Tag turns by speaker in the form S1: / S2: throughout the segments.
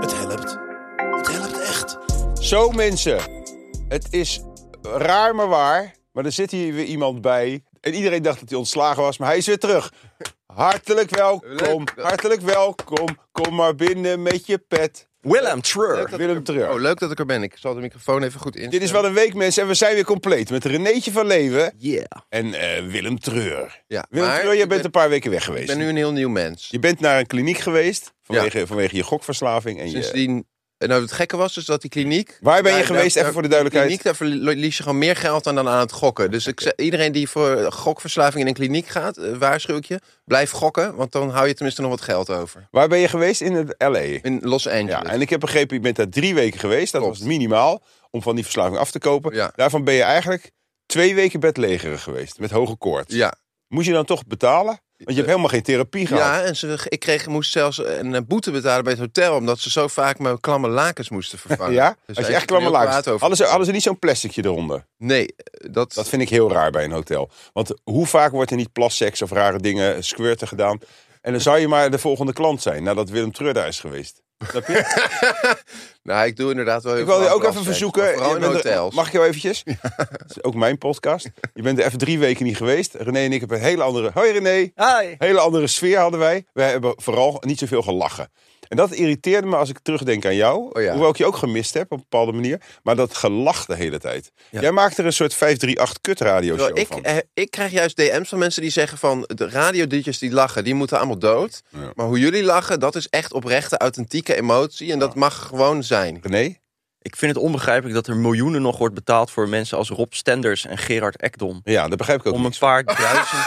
S1: Het helpt. Het helpt echt.
S2: Zo mensen, het is raar maar waar, maar er zit hier weer iemand bij. En iedereen dacht dat hij ontslagen was, maar hij is weer terug. Hartelijk welkom, hartelijk welkom. Kom maar binnen met je pet.
S3: Willem Treur.
S2: Willem Treur.
S4: Oh, leuk dat ik er ben. Ik zal de microfoon even goed in.
S2: Dit is wel een week mensen en we zijn weer compleet met Renéetje van Leeuwen
S3: Yeah.
S2: en eh, Willem Treur.
S4: Ja,
S2: Willem
S4: maar
S2: Treur, jij bent
S4: ik ben-
S2: een paar weken weg
S4: Ik
S2: geweest.
S4: ben nu een heel nieuw mens.
S2: Je bent naar een kliniek geweest vanwege, vanwege je gokverslaving. En je...
S4: Sindsdien. En nou, het gekke was dus dat die kliniek.
S2: Waar ben je
S4: daar-
S2: geweest?
S4: daar-
S2: Even voor de duidelijkheid.
S4: Die kliniek, daar verlies je gewoon meer geld dan aan het gokken. Dus ik, zeg- iedereen die voor gokverslaving in een kliniek gaat, eh, waarschuw ik je. Blijf gokken, want dan hou je tenminste nog wat geld over.
S2: Waar ben je geweest? In het L.A.
S4: In Los Angeles.
S2: Ja, en ik heb begrepen, je bent daar drie weken geweest. Dat
S4: Klopt.
S2: was minimaal om van die verslaving af te kopen.
S4: Ja.
S2: Daarvan ben je eigenlijk twee weken bedlegerig geweest met hoge koorts.
S4: ja.
S2: Moest je dan toch betalen? Want je hebt helemaal geen therapie gehad.
S4: Ja, en ze, ik kreeg, moest zelfs een eh, boete betalen bij het hotel. omdat ze zo vaak mijn klamme lakens moesten vervangen.
S2: Ja?
S4: Dus
S2: Als je
S4: ik
S2: echt
S4: ben
S2: klamme
S4: heel kwaad
S2: laars.
S4: over
S2: Hadden ze,
S4: mezelf.
S2: hadden ze niet zo'n plasticje eronder?
S4: Nee, eh, dat,
S2: Dat vind ik heel raar bij een hotel. Want hoe vaak wordt er niet plasseks of rare dingen, squirten gedaan? En dan zou je maar de volgende klant zijn nadat Willem Treur daar is geweest. Snap je?
S4: Nou, ik doe inderdaad wel heel
S2: Ik wil je
S4: veel
S2: ook even
S4: afwasseks, maar
S2: verzoeken.
S4: Vooral
S2: je
S4: in
S2: bent er-
S4: hotels.
S2: mag ik jou eventjes? Dat is ook mijn podcast. Je bent er even drie weken niet geweest. René en ik hebben een hele andere... Hoi René!
S3: Hi.
S2: Hele andere sfeer hadden wij. Wij hebben vooral niet zoveel gelachen. En dat irriteerde me als ik terugdenk aan jou.
S4: Oh ja.
S2: Hoewel ik je ook gemist heb op een bepaalde manier. Maar dat gelach de hele tijd. Jij maakt er een soort 538 kut radio
S4: Terwijl
S2: show
S4: ik,
S2: van.
S4: eh, ik krijg juist DM's van mensen die zeggen van... de radiodiertjes die lachen, die moeten allemaal dood. Maar hoe jullie lachen, dat is echt oprechte, authentieke emotie. En dat mag gewoon zijn.
S2: René?
S3: Ik vind het onbegrijpelijk dat er miljoenen nog wordt betaald voor mensen als Rob Stenders en Gerard Ekdom.
S2: Ja, dat begrijp ik ook
S3: Om
S2: niet.
S3: een paar duizend.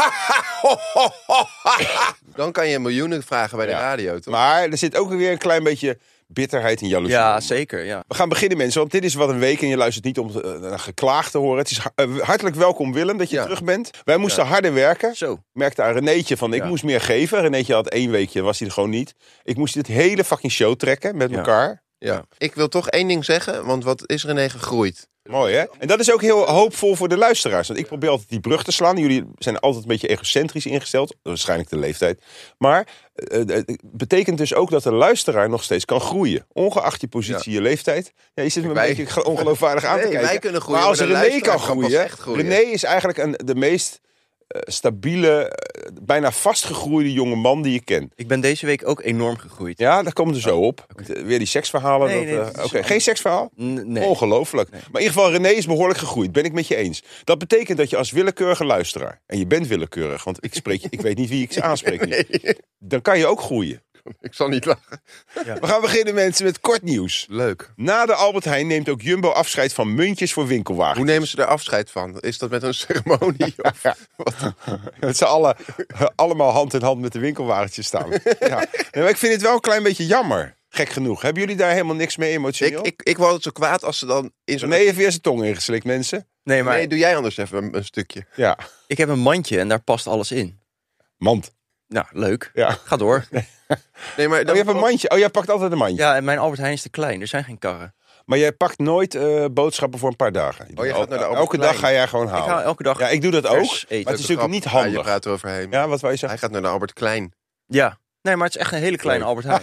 S4: Dan kan je miljoenen vragen bij de
S2: Ja.
S4: radio, toch?
S2: Maar er zit ook weer een klein beetje bitterheid en jaloezie.
S3: ja,
S2: in.
S3: zeker. Ja.
S2: We gaan beginnen mensen, want dit is wat een week en je luistert niet om eh, naar geklaag te horen. Het is ha- eh, hartelijk welkom Willem dat je
S4: Ja.
S2: terug bent. Wij moesten harder werken.
S3: Zo.
S2: Ik merkte aan Renéetje van ik
S3: Ja.
S2: moest meer geven. Renéetje had één weekje, was hij er gewoon niet. Ik moest dit hele fucking show trekken met elkaar.
S4: Ja. Ik wil toch één ding zeggen, want wat is René gegroeid?
S2: Mooi hè? En dat is ook heel hoopvol voor de luisteraars. Want ik probeer altijd die brug te slaan. Jullie zijn altijd een beetje egocentrisch ingesteld. Waarschijnlijk de leeftijd. Maar eh, eh, het betekent dus ook dat de luisteraar nog steeds kan groeien. Ongeacht je positie, je leeftijd. Ja, je zit me een
S4: Wij-
S2: beetje ongeloofwaardig aan te
S4: Nee, wij
S2: kijken.
S4: kunnen groeien,
S2: maar als
S4: maar de
S2: René kan
S4: luisteraar kan pas
S2: groeien,
S4: echt groeien.
S2: René is eigenlijk een, de meest eh, stabiele, eh, bijna vastgegroeide jonge man die je kent.
S3: Ik ben deze week ook enorm gegroeid.
S2: Ja, daar komen we
S4: Oh,
S2: zo op. Eh, Weer die seksverhalen.
S3: Nee,
S2: dat,
S3: nee,
S2: eh,
S3: dat is-
S2: Oké, geen seksverhaal?
S3: N- nee.
S2: Ongelooflijk. Maar in ieder geval, René is behoorlijk gegroeid. Ben ik met je eens. Dat betekent dat je als willekeurige luisteraar... en je bent willekeurig, want ik, spreek, je- ik weet niet wie ik ze aanspreek nu. Dan kan je ook groeien.
S4: Ik zal niet lachen.
S2: We gaan beginnen, mensen, met kort nieuws.
S4: Leuk.
S2: Na de Albert Heijn neemt ook Jumbo afscheid van muntjes voor
S4: Hoe
S2: winkelwagens.
S4: nemen ze daar afscheid van? Is dat met een ceremonie? Of
S2: Dat ze alle, eh, allemaal hand in hand met de winkelwagentjes staan. Ja. Nee, maar ik vind het wel een klein beetje jammer. Gek genoeg. Hebben jullie daar helemaal niks mee emotioneel?
S4: Ik, ik, ik word het zo kwaad als ze dan in zo'n...
S2: René heeft weer zijn tong ingeslikt, mensen.
S3: Nee, maar
S4: Nee, doe jij anders even een, een stukje.
S2: Ja.
S3: ik heb een mandje en daar past alles in.
S2: Mand.
S3: Nou, leuk.
S2: Ja.
S3: Ga door.
S4: Nee, maar
S2: Oh, je hebt een mandje. Oh, jij pakt altijd een mandje.
S3: Ja, en mijn Albert Heijn is te klein. Er zijn geen karren.
S2: Maar jij pakt nooit eh, boodschappen voor een paar dagen.
S4: Oh, je gaat naar de Albert
S2: elke dag
S4: Klein.
S2: ga jij gewoon
S3: Ik
S2: halen.
S3: haal elke dag.
S2: Nou. Ja, ik doe dat ook. Maar
S3: vers
S2: het is
S3: eten.
S2: natuurlijk niet
S4: Ja, je
S2: handig. Ja,
S4: praat eroverheen.
S2: wat wij zeggen.
S4: Hij gaat naar de Albert Klein.
S3: Ja. Nee, maar het is echt een hele kleine Albert Heijn.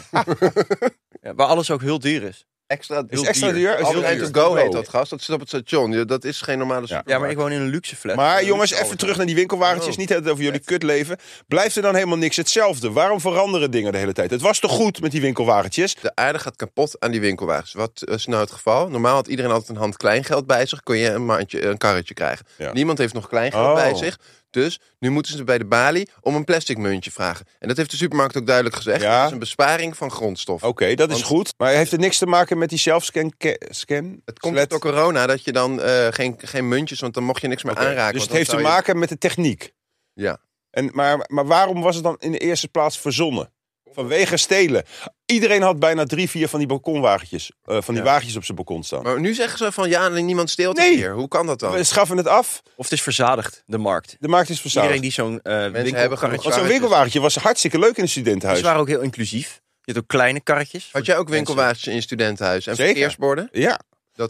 S3: ja, waar alles ook heel duur is.
S4: Extra
S2: Is
S4: duur.
S2: het extra duur? Is
S4: Albert
S2: heel
S4: Heijn
S2: duur.
S4: to go heet dat gast. Dat zit op het station. Ja, Dat is geen normale
S2: Ja.
S3: Ja,
S4: supermarkt.
S3: maar ik woon in een luxe flat.
S2: Maar jongens, even terug naar die winkelwagentjes.
S4: Oh.
S2: Niet het over jullie kutleven. Blijft er dan helemaal niks hetzelfde? Waarom veranderen dingen de hele tijd? Het was toch goed met die winkelwagentjes?
S4: De aarde gaat kapot aan die winkelwagens. Wat is nou het geval? Normaal had iedereen altijd een hand kleingeld bij zich. Kon je een, mandje, een karretje krijgen.
S2: Ja.
S4: Niemand heeft nog kleingeld
S2: Oh.
S4: bij zich. Dus nu moeten ze bij de balie om een plastic muntje vragen. En dat heeft de supermarkt ook duidelijk gezegd.
S2: Ja. Oh,
S4: Dat is een besparing van grondstof.
S2: Oké, dat is
S4: Want-
S2: goed. Maar heeft het niks te maken met die zelfscan? ke- Scan?
S4: Het komt
S2: Slet?
S4: door corona dat je dan eh, geen, geen muntjes, want dan mocht je niks meer
S2: Oké,
S4: aanraken.
S2: Dus
S4: want
S2: het
S4: dan
S2: heeft te
S4: zou je-
S2: maken met de techniek.
S4: Ja.
S2: En, maar, maar waarom was het dan in de eerste plaats verzonnen? Vanwege stelen. Iedereen had bijna drie, vier van die balkonwagentjes. eh, van die
S3: Ja.
S2: wagentjes op zijn balkon staan.
S4: Maar nu zeggen ze van ja, niemand steelt het
S2: Nee.
S4: hier. Hoe kan dat dan?
S2: We schaffen het af.
S3: Of het is verzadigd, de markt.
S2: De markt is verzadigd.
S3: Iedereen die zo'n eh
S4: hebben
S3: winkelkarretje...
S4: genoeg.
S2: Want zo'n winkelwagentje was hartstikke leuk in een studentenhuis.
S3: Ze waren ook heel inclusief. Je had ook kleine karretjes.
S4: Had jij ook winkelwagentjes in je studentenhuis en
S2: Zeker.
S4: verkeersborden?
S2: Ja,
S4: Dat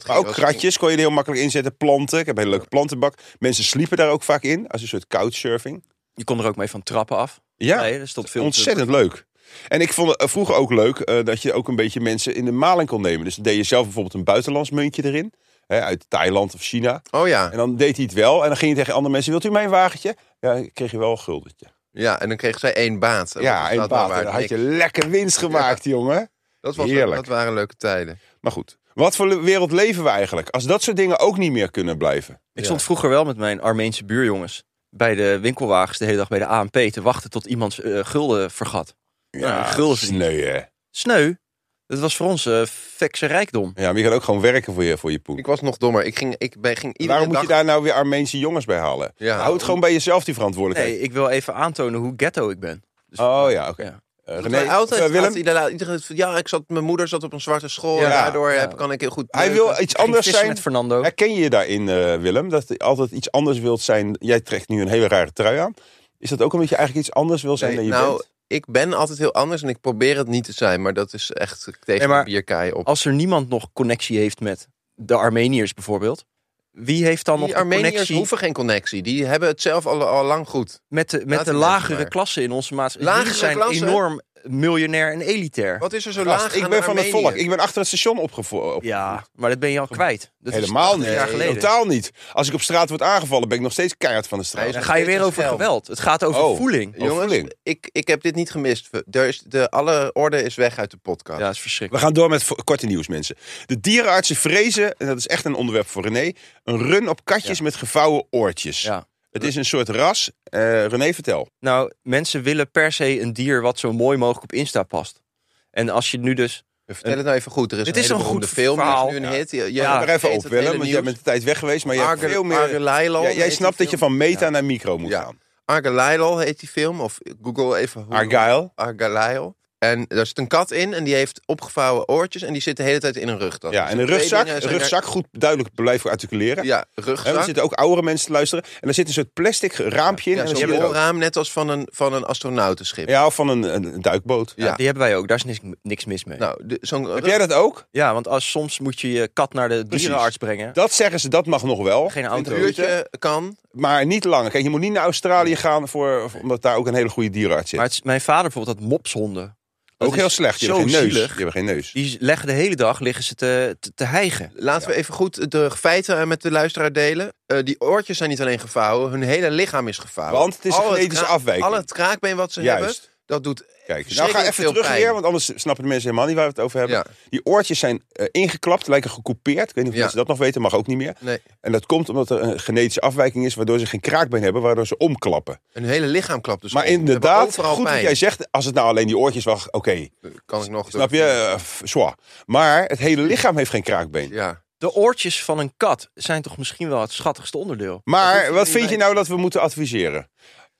S2: maar
S4: ging
S2: ook
S4: wel-
S2: kratjes kon je er heel makkelijk inzetten. Planten. Ik heb een hele leuke plantenbak. Mensen sliepen daar ook vaak in. Als een soort couchsurfing.
S3: Je kon er ook mee van trappen af.
S2: Ja.
S3: Nee, er stond veel te-
S2: Ontzettend leuk. En ik vond het eh, vroeger ook leuk eh, dat je ook een beetje mensen in de maling kon nemen. Dus dan deed je zelf bijvoorbeeld een buitenlands muntje erin. Hè, uit Thailand of China.
S4: Oh ja.
S2: En dan deed hij het wel. En dan ging je tegen andere mensen: Wilt u mijn wagentje? Ja, dan kreeg je wel een guldetje.
S4: ja, en dan kreeg zij één baat. En wat
S2: ja,
S4: is
S2: en
S4: dat nou
S2: baat.
S4: waard?
S2: En dan had je
S4: Niks.
S2: lekker winst gemaakt, jongen.
S4: dat, was,
S2: Heerlijk.
S4: dat waren leuke tijden.
S2: Maar goed, wat voor le- wereld leven we eigenlijk? Als dat soort dingen ook niet meer kunnen blijven.
S3: Ik stond vroeger wel met mijn Armeense buurjongens bij de winkelwagens de hele dag bij de ANP te wachten tot iemand eh, gulden vergat. Ja, gulden verdienen.
S2: Nee, hè.
S3: Sneu. Dat was voor ons eh fikse rijkdom.
S2: Ja, maar je gaat ook gewoon werken voor je, voor je poen.
S4: Ik was nog dommer. Ik ging, ik ben, ging iedere
S2: Waarom moet
S4: dag... Nou,
S2: je daar nou weer Armeense jongens bij halen?
S4: Ja.
S2: Houd gewoon bij jezelf die verantwoordelijkheid.
S3: Nee, ik wil even aantonen hoe ghetto ik ben. Dus-
S2: Oh ja, oké.
S3: Ja.
S2: Eh,
S4: Dat
S2: René,
S4: wij altijd,
S2: eh, Willem,
S4: altijd iedereen, iedereen- ja, ik zat, mijn moeder zat op een zwarte school.
S2: Ja.
S4: en daardoor
S3: Ja.
S4: heb, kan ik heel goed.
S2: hij
S4: neuken.
S2: wil iets
S3: Ik ging
S2: anders
S3: vissen
S2: zijn.
S3: met Fernando.
S2: Herken je je daarin, eh, Willem? Dat je altijd iets anders wilt zijn. Jij trekt nu een hele rare trui aan. Is dat ook omdat je eigenlijk iets anders wil zijn
S4: Nee,
S2: dan je
S4: nou,
S2: bent?
S4: ik ben altijd heel anders en ik probeer het niet te zijn, maar dat is echt tegen
S3: Nee, maar-
S4: de bierkaai op.
S3: Als er niemand nog connectie heeft met de Armeniërs bijvoorbeeld. Wie heeft dan nog
S4: die
S3: de
S4: Armeniërs
S3: connectie
S4: hoeven geen connectie. Die hebben het zelf al, al lang goed.
S3: met de, met
S4: Laat
S3: de
S4: die mensen
S3: lagere
S4: maar.
S3: klassen in onze maatschappij?
S4: Lagere
S3: Jullie zijn
S4: klassen?
S3: enorm miljonair en elitair.
S4: Wat is er zo
S2: Gast,
S4: laag
S2: ik
S4: aan
S2: ben
S4: de
S2: van het volk.
S4: Armeniërs?
S2: Ik ben achter het station opgevoerd.
S3: Ja, maar dat ben je al kwijt. Dat is
S2: Helemaal
S3: 80
S2: niet.
S3: jaar geleden.
S2: Totaal niet. Als ik op straat word aangevallen, ben ik nog steeds keihard van de straat.
S4: Hij is
S3: Dan ga je weer over geweld. Het gaat over
S2: Oh.
S3: voeling.
S2: Oh,
S4: Jongens,
S2: voeling.
S4: ik, ik heb dit niet gemist. We- Er is, de, alle orde is weg uit de podcast.
S3: Ja, dat is verschrikkelijk.
S2: We gaan door met vo- korte nieuws, mensen. De dierenartsen vrezen, en dat is echt een onderwerp voor René, een run op katjes met gevouwen oortjes.
S3: Ja.
S2: Het is een soort ras. Eh, René, vertel.
S3: Nou, mensen willen per se een dier wat zo mooi mogelijk op Insta past. En als je nu dus...
S4: Vertel het nou even goed. Er is
S3: Dit
S4: een
S3: is
S4: hele
S3: een goed
S4: beroemde film. Er
S3: verhaal.
S4: is nu een hit. Je, je
S3: Ja,
S2: Maar even
S4: vergeet
S2: op,
S4: het hele
S2: Willem, want jij
S4: Ah, nieuws.
S2: bent de tijd weg geweest, maar je hebt
S4: Arge-
S2: veel meer...
S4: Argelailal
S2: Ja, jij
S4: heet
S2: snapt
S4: die
S2: dat je
S4: film.
S2: van meta
S3: Ja.
S2: naar micro moet
S4: Ja.
S2: gaan.
S4: Argelailal heet die film. Of Google even hoe...
S2: Argyle.
S4: Argelailal. En daar zit een kat in en die heeft opgevouwen oortjes en die zit de hele tijd in een rugtas.
S2: Ja,
S4: Dus
S2: en een
S4: twee
S2: rugzak,
S4: dingen
S2: een
S4: zijn er-
S2: rugzak goed duidelijk blijven articuleren.
S4: Ja,
S2: Hè, want er
S4: rugzak.
S2: zitten ook oudere mensen te luisteren. En er zit een soort plastic raampje in.
S4: Ja,
S2: en dan
S4: zo'n
S2: zie je dat ook.
S4: raam net als van een, van een astronautenschip.
S2: ja, of van een, een, een duikboot.
S4: Ja.
S3: Ja. die hebben wij ook. Daar is niks, niks mis mee.
S4: Nou, de- zo'n
S2: Heb
S4: rug-
S2: jij dat ook?
S3: Ja, want als, soms moet je je kat naar de
S2: Precies.
S3: dierenarts brengen.
S2: Dat zeggen ze, dat mag nog wel.
S3: Geen
S4: een
S3: auto.
S4: uurtje kan.
S2: Maar niet langer. Kijk, je moet niet naar Australië gaan, voor, omdat daar ook een hele goede dierenarts zit.
S3: Maar het is- mijn vader bijvoorbeeld had mopshonden. Dat
S2: ook
S3: is
S2: heel
S4: dus
S2: slecht. Je
S3: zo
S2: hebt geen neus.
S3: zielig.
S2: Je hebt geen neus.
S3: Die leggen de hele dag liggen ze te, te, te hijgen.
S4: Laten we even goed de feiten eh, met de luisteraar delen. Eh, die oortjes zijn niet alleen gevouwen, hun hele lichaam is gevouwen.
S2: Want het is een genetische
S4: kraak-
S2: afwijking.
S4: Al het kraakbeen wat ze
S2: Juist.
S4: hebben, dat doet
S2: Kijk, nou ga
S4: verschrikkelijk
S2: even
S4: veel
S2: terug
S4: pijn.
S2: weer, want anders snappen de mensen helemaal niet waar we het over hebben.
S4: Ja.
S2: Die oortjes zijn eh, ingeklapt, lijken gecoupeerd. Ik weet niet of
S4: Ja.
S2: mensen dat nog weten, mag ook niet meer.
S4: nee,
S2: En dat komt omdat er een genetische afwijking is, waardoor ze geen kraakbeen hebben, waardoor ze omklappen.
S4: hun hele lichaam klapt dus
S2: maar
S4: om. Ze hebben
S2: inderdaad,
S4: overal
S2: goed dat
S4: pijn.
S2: jij zegt, als het nou alleen die oortjes was, oké,
S4: Kan ik nog...
S2: snap je, eh, f- zwa. Maar het hele lichaam heeft geen kraakbeen.
S4: Ja.
S3: De oortjes van een kat zijn toch misschien wel het schattigste onderdeel.
S4: Dat hoef
S2: Maar
S4: je
S2: wat vind
S4: niet bij
S2: je
S4: te
S2: nou dat we moeten adviseren?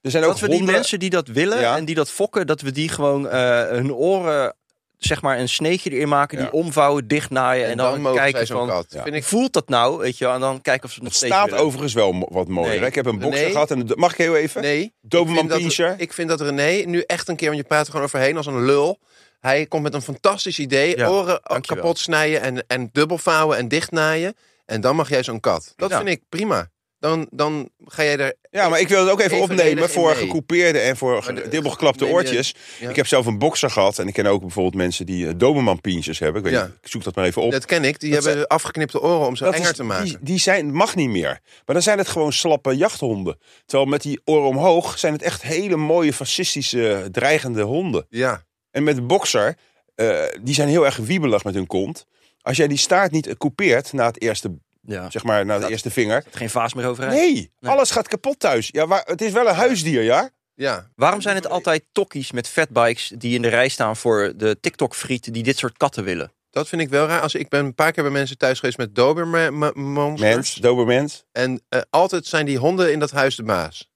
S2: Er zijn ook
S3: dat we die
S2: honden-
S3: mensen die dat willen
S2: Ja.
S3: en die dat fokken, dat we die gewoon eh, hun oren, zeg maar, een sneetje erin maken,
S2: Ja.
S3: die omvouwen, dichtnaaien en, dan,
S4: mogen zij
S3: kijken
S4: zo'n
S3: van,
S4: kat.
S2: Ja.
S4: Vind ik
S3: voelt dat nou, weet je wel, en dan kijken of ze het nog
S2: Het
S3: steeds
S2: staat
S3: willen.
S2: overigens wel mo- wat mooier.
S3: Nee.
S2: hè? Ik heb een boxer
S4: Nee.
S2: gehad en de- mag ik heel even?
S4: Nee.
S2: Doberman
S4: ik vind dat-
S2: Pinscher.
S4: Ik vind dat René nu echt een keer, want je praat er gewoon overheen als een lul. Hij komt met een fantastisch idee.
S3: Ja,
S4: oren
S3: dankjewel.
S4: kapot snijden en, en dubbel vouwen en dichtnaaien. En dan mag jij zo'n kat. Dat
S3: Ja.
S4: vind ik prima. Dan, dan ga jij er...
S2: Ja, maar ik wil het ook even
S4: Evenredig
S2: opnemen
S4: in
S2: voor
S4: mee.
S2: gecoupeerde en voor
S4: Maar de-
S2: dubbelgeklapte
S4: neem je-
S2: oortjes.
S4: ja.
S2: Ik heb zelf een bokser gehad en ik ken ook bijvoorbeeld mensen die eh, Doberman-pinsjes hebben. Ik, weet
S4: Ja.
S2: niet, ik zoek dat maar even op.
S4: Dat ken ik. Die hebben afgeknipte oren om ze
S2: Dat
S4: enger
S2: is-
S4: te maken.
S2: Die, die zijn, mag niet meer. Maar dan zijn het gewoon slappe jachthonden. Terwijl met die oren omhoog zijn het echt hele mooie fascistische eh, dreigende honden.
S4: Ja.
S2: En met de bokser, eh, die zijn heel erg wiebelig met hun kont. Als jij die staart niet eh, coupeert na het eerste,
S3: Ja.
S2: zeg maar, na de
S3: Dat-
S2: eerste vinger,
S3: Geen vaas meer overheen.
S2: Nee, alles gaat kapot thuis. Ja, waar, het is wel een huisdier, ja?
S4: ja.
S3: Waarom zijn het altijd tokkies met fatbikes die in de rij staan voor de TikTok-friet die dit soort katten willen?
S4: Dat vind ik wel raar. Als ik ben een paar keer bij mensen thuis geweest met Dobermans.
S2: Mens, dobermens.
S4: En eh, altijd zijn die honden in dat huis de baas.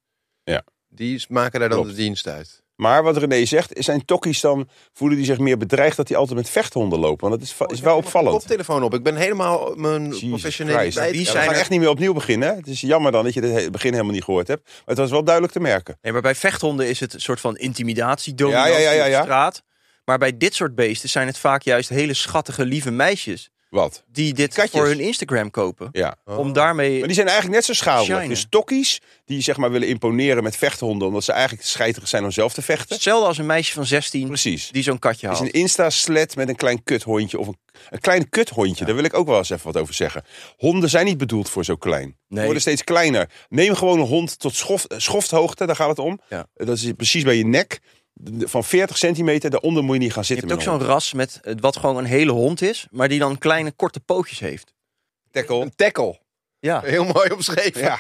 S2: Ja.
S4: Die maken daar dan
S2: Klopt.
S4: de dienst uit.
S2: Maar wat René zegt, zijn tokkies dan voelen die zich meer bedreigd dat die altijd met vechthonden lopen? Want dat is,
S3: Oh,
S2: va- is wel opvallend.
S4: Koptelefoon op. Ik ben helemaal mijn
S2: Jezus
S4: professionaliteit.
S2: Christ.
S3: Die
S2: Ja, we
S3: zijn
S2: gaan
S3: er-
S2: echt niet meer opnieuw beginnen. hè? Het is jammer dan dat je het he- begin helemaal niet gehoord hebt. Maar het was wel duidelijk te merken.
S3: Nee, maar bij vechthonden is het een soort van intimidatie, dominantie
S2: Ja, ja, ja, ja, ja.
S3: op straat. Maar bij dit soort beesten zijn het vaak juist hele schattige, lieve meisjes
S2: Wat?
S3: die dit
S2: Katjes.
S3: voor hun Instagram kopen.
S2: Ja. Oh.
S3: Om daarmee...
S2: Maar die zijn eigenlijk net zo schadelijk.
S3: Oh. Shine.
S2: Dus tokkies die zeg maar willen imponeren met vechthonden... omdat ze eigenlijk scheiterig zijn om zelf te vechten.
S3: Hetzelfde als een meisje van 16
S2: Precies.
S3: die zo'n katje
S2: is
S3: haalt.
S2: een Insta-slet met een klein kuthondje. Of een, een klein kuthondje, daar wil ik ook wel eens even wat over zeggen. Honden zijn niet bedoeld voor zo klein. Ze
S3: Nee.
S2: worden steeds kleiner. Neem gewoon een hond tot schof, eh, schofthoogte, daar gaat het om. Eh,
S3: Ja.
S2: Dat is precies bij je nek. De- Van 40 centimeter, daaronder moet je niet gaan
S3: Je
S2: zitten.
S3: hebt ook
S2: met een
S3: zo'n ras met, eh, wat gewoon een hele hond is, maar die dan kleine, korte pootjes heeft.
S2: hond. tackle.
S4: Een tackle.
S3: Ja,
S4: Heel mooi omschreven.
S2: Ja,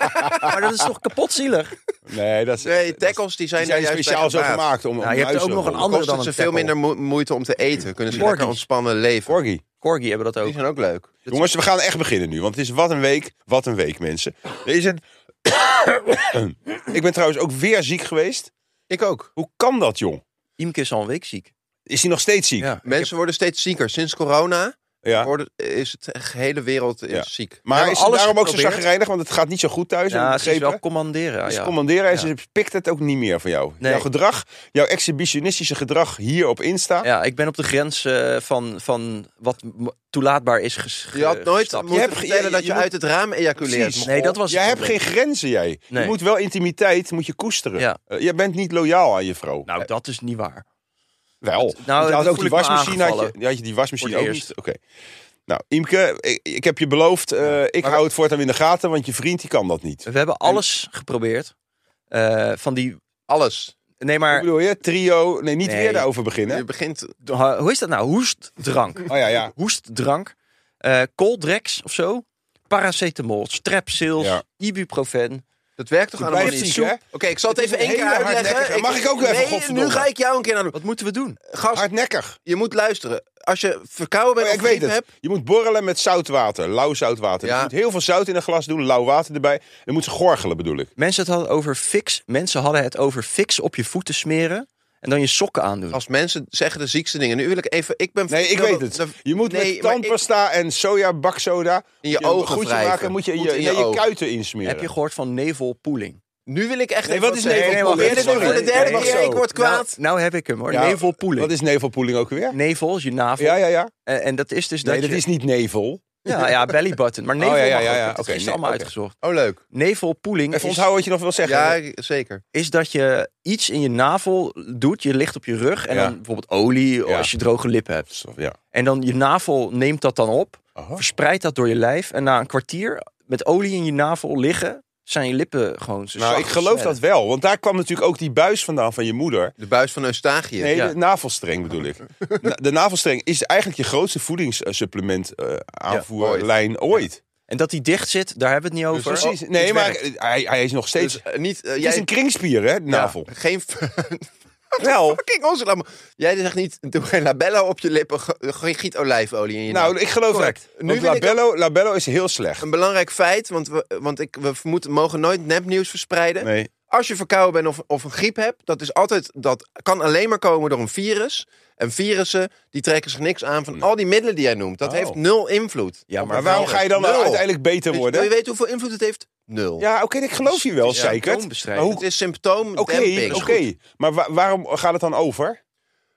S3: maar dat is toch kapot zielig?
S2: nee, dat is,
S4: Nee,
S2: dat is-
S4: tackles die
S2: die
S4: zijn,
S2: zijn
S4: er juist bij
S2: speciaal zo
S4: gebaat.
S2: gemaakt. Om, om
S3: Ja, Nou, je hebt er ook
S2: muizen-
S3: nog een
S4: Dan
S3: andere
S4: kost
S3: dan
S4: het ze
S3: een
S4: veel
S3: tackle.
S4: minder moe- moeite om te eten. Kunnen ze lekker
S3: Corgis.
S4: ontspannen leven.
S2: Corgi.
S3: Corgi hebben dat
S4: Die
S3: ook.
S4: zijn ook leuk.
S2: Jongens, we gaan echt beginnen nu. Want het is wat een week, wat een week, mensen. Er is een... ik ben trouwens ook weer ziek geweest.
S4: Ik ook.
S2: Hoe kan dat, jong?
S3: Iemke is al een week ziek.
S2: Is hij nog steeds ziek?
S3: Ja.
S4: Mensen worden steeds zieker. Sinds corona
S2: Ja.
S4: worden, is het de hele wereld is
S2: Ja.
S4: ziek.
S2: Maar
S3: Hebben
S2: is het
S3: alles
S2: daarom ook zo
S3: geprobeerd?
S2: zagrijnig? Want het gaat niet zo goed thuis.
S3: Ja, ze is
S2: begrepen.
S3: wel commanderen.
S2: Dus
S3: ja.
S2: commanderen en
S3: Ja.
S2: ze pikt het ook niet meer van jou.
S3: Nee.
S2: Jouw gedrag, jouw exhibitionistische gedrag hier op Insta.
S3: Ja, ik ben op de grens eh, van, van wat m- toelaatbaar is ges-
S4: Je had nooit
S3: gestapt.
S4: moeten
S2: hebt ge-
S4: vertellen
S2: eh, je-
S4: dat
S2: je
S4: je
S2: moet-
S4: uit het raam ejaculeert.
S2: Precies.
S3: Nee, dat was
S2: jij
S3: het
S2: hebt geen
S3: probleem.
S2: grenzen, jij.
S3: Nee.
S2: Je moet wel intimiteit moet je koesteren.
S3: Ja.
S2: Eh, jij bent niet loyaal aan je vrouw. Eh,
S3: Nou, dat is niet waar.
S2: wel.
S3: nou,
S2: Want je
S3: dat
S2: had ook
S3: voel
S2: die
S3: ik me
S2: wasmachine. Had je,
S3: aangevallen.
S2: had je die wasmachine
S3: Voor
S2: ook
S3: het
S2: niet?
S3: eerst.
S2: Oké. Nou, Imke, ik, ik heb je beloofd. eh, ik hou het voortaan in de gaten, want je vriend die kan dat niet.
S3: We hebben alles geprobeerd. Eh, van die...
S4: Alles.
S3: Nee,
S2: Ik
S3: maar...
S2: bedoel je, trio. Nee, niet
S3: Nee.
S2: weer daarover beginnen.
S4: Je begint
S3: eh, Hoe is dat nou? Hoestdrank.
S2: Oh ja, ja.
S3: Hoestdrank. eh Coldrex of zo. Paracetamol. Strepsils.
S2: Ja,
S3: Ibuprofen.
S4: Dat werkt toch
S2: Je
S4: allemaal
S2: blijft
S4: niet?
S2: ziek, hè?
S4: Oké, ik zal het
S2: Het is
S4: even één
S2: een
S4: keer
S2: hele
S4: uitleggen.
S2: hardnekkige. Mag ik ook even,
S4: Nee,
S2: godverdomme?
S4: nu ga ik jou een keer aan doen.
S3: Wat moeten we doen?
S4: Gast,
S2: hardnekkig.
S4: je moet luisteren. Als je verkouden bent
S2: Oh,
S4: of
S2: ik weet
S4: griep
S2: het.
S4: hebt...
S2: Je moet borrelen met zout water, lauw zout water.
S4: Ja.
S2: Je moet heel veel zout in een glas doen, lauw water erbij. Je moet ze gorgelen, bedoel ik.
S3: Mensen, het hadden over fix, mensen hadden het over fix op je voeten smeren. En dan je sokken aandoen.
S4: Als mensen zeggen de ziekste dingen. Nu wil ik even... Ik ben
S2: Nee, ik weet het.
S4: De-
S2: Je moet
S4: Nee,
S2: met
S4: maar ik-
S2: tandpasta en soja, baksoda...
S4: In je
S2: moet een
S4: ogen
S2: goedje
S4: wrijven.
S2: maken, moet je in
S4: Moet
S2: je,
S4: in je
S2: nee, je
S4: ogen.
S2: kuiten insmeren.
S3: Heb je gehoord van nevelpoeling?
S4: Nu wil ik echt
S2: Nee,
S4: even
S2: wat is
S4: zeggen.
S2: nevelpoeling?
S4: Nee, nee, wacht,
S3: Sorry.
S4: Voor de derde
S3: Nee, wacht
S4: keer,
S2: zo.
S4: ik word kwaad.
S3: Nou, nou heb ik hem hoor.
S2: Ja,
S3: nevelpoeling.
S2: Wat is nevelpoeling ook weer?
S3: Nevel is je navel.
S2: Ja, ja, ja.
S3: En, en dat is dus
S2: Nee,
S3: dat,
S2: dat
S3: je-
S2: is niet nevel.
S3: Ja, ja, belly button. Maar nevel
S2: Oh, ja, ja,
S3: mag
S2: ja,
S3: ook.
S2: ja.
S3: Dat is
S2: Oké, nee,
S3: allemaal
S2: oké.
S3: uitgezocht.
S4: Oh, leuk.
S3: Nevelpoeling
S2: Even
S3: is,
S2: onthouden wat je nog wil zeggen.
S4: Ja, zeker.
S3: is dat je iets in je navel doet. Je ligt op je rug en
S2: Ja.
S3: dan bijvoorbeeld olie of
S2: Ja.
S3: als je droge lippen hebt.
S2: ja.
S3: En dan je navel neemt dat dan op,
S2: Aha.
S3: verspreidt dat door je lijf. En na een kwartier met olie in je navel liggen, zijn je lippen gewoon zo
S2: Nou,
S3: zacht
S2: ik geloof
S3: gesmeld.
S2: dat wel. Want daar kwam natuurlijk ook die buis vandaan van je moeder.
S4: De buis van Eustachië.
S2: Nee,
S3: Ja.
S2: de navelstreng bedoel ik. Na- De navelstreng is eigenlijk je grootste voedingssupplement eh, aanvoerlijn ooit.
S3: En dat die dicht zit, daar hebben we het niet over.
S2: Dus Precies.
S3: Oh,
S2: Nee,
S3: het
S2: maar
S3: werkt.
S2: eh, hij, hij is nog steeds...
S4: Dus eh, niet... eh,
S2: het
S4: jij,
S2: is een kringspier, hè, de navel.
S4: Ja, geen...
S2: Wel.
S4: Fucking onzin. allemaal. Jij zegt niet, doe geen labello op je lippen, ge- ge- giet olijfolie in je navel.
S2: Nou, ik geloof
S3: Correct.
S2: dat.
S4: Nu
S2: Want
S4: wil ik-
S2: labello, labello is heel slecht.
S4: Een belangrijk feit, want we, want ik, we moeten, mogen nooit nepnieuws verspreiden.
S2: Nee.
S4: Als je verkouden bent of, of een griep hebt, dat, is altijd, dat kan alleen maar komen door een virus. En virussen, die trekken zich niks aan van al die middelen die jij noemt. Dat
S2: Oh.
S4: heeft nul invloed.
S3: Ja,
S2: Maar waarom ga je dan
S4: Nul.
S2: uiteindelijk beter
S4: Weet je- Wil je
S2: worden?
S4: weten hoeveel invloed het heeft? Nul.
S2: Ja, oké, ik geloof je wel,
S3: Het is
S2: zeker. Maar
S3: symptoombestrijding.
S2: hoe...
S4: Het is symptoom
S2: Oké, oké. Maar wa- waarom gaat het dan over?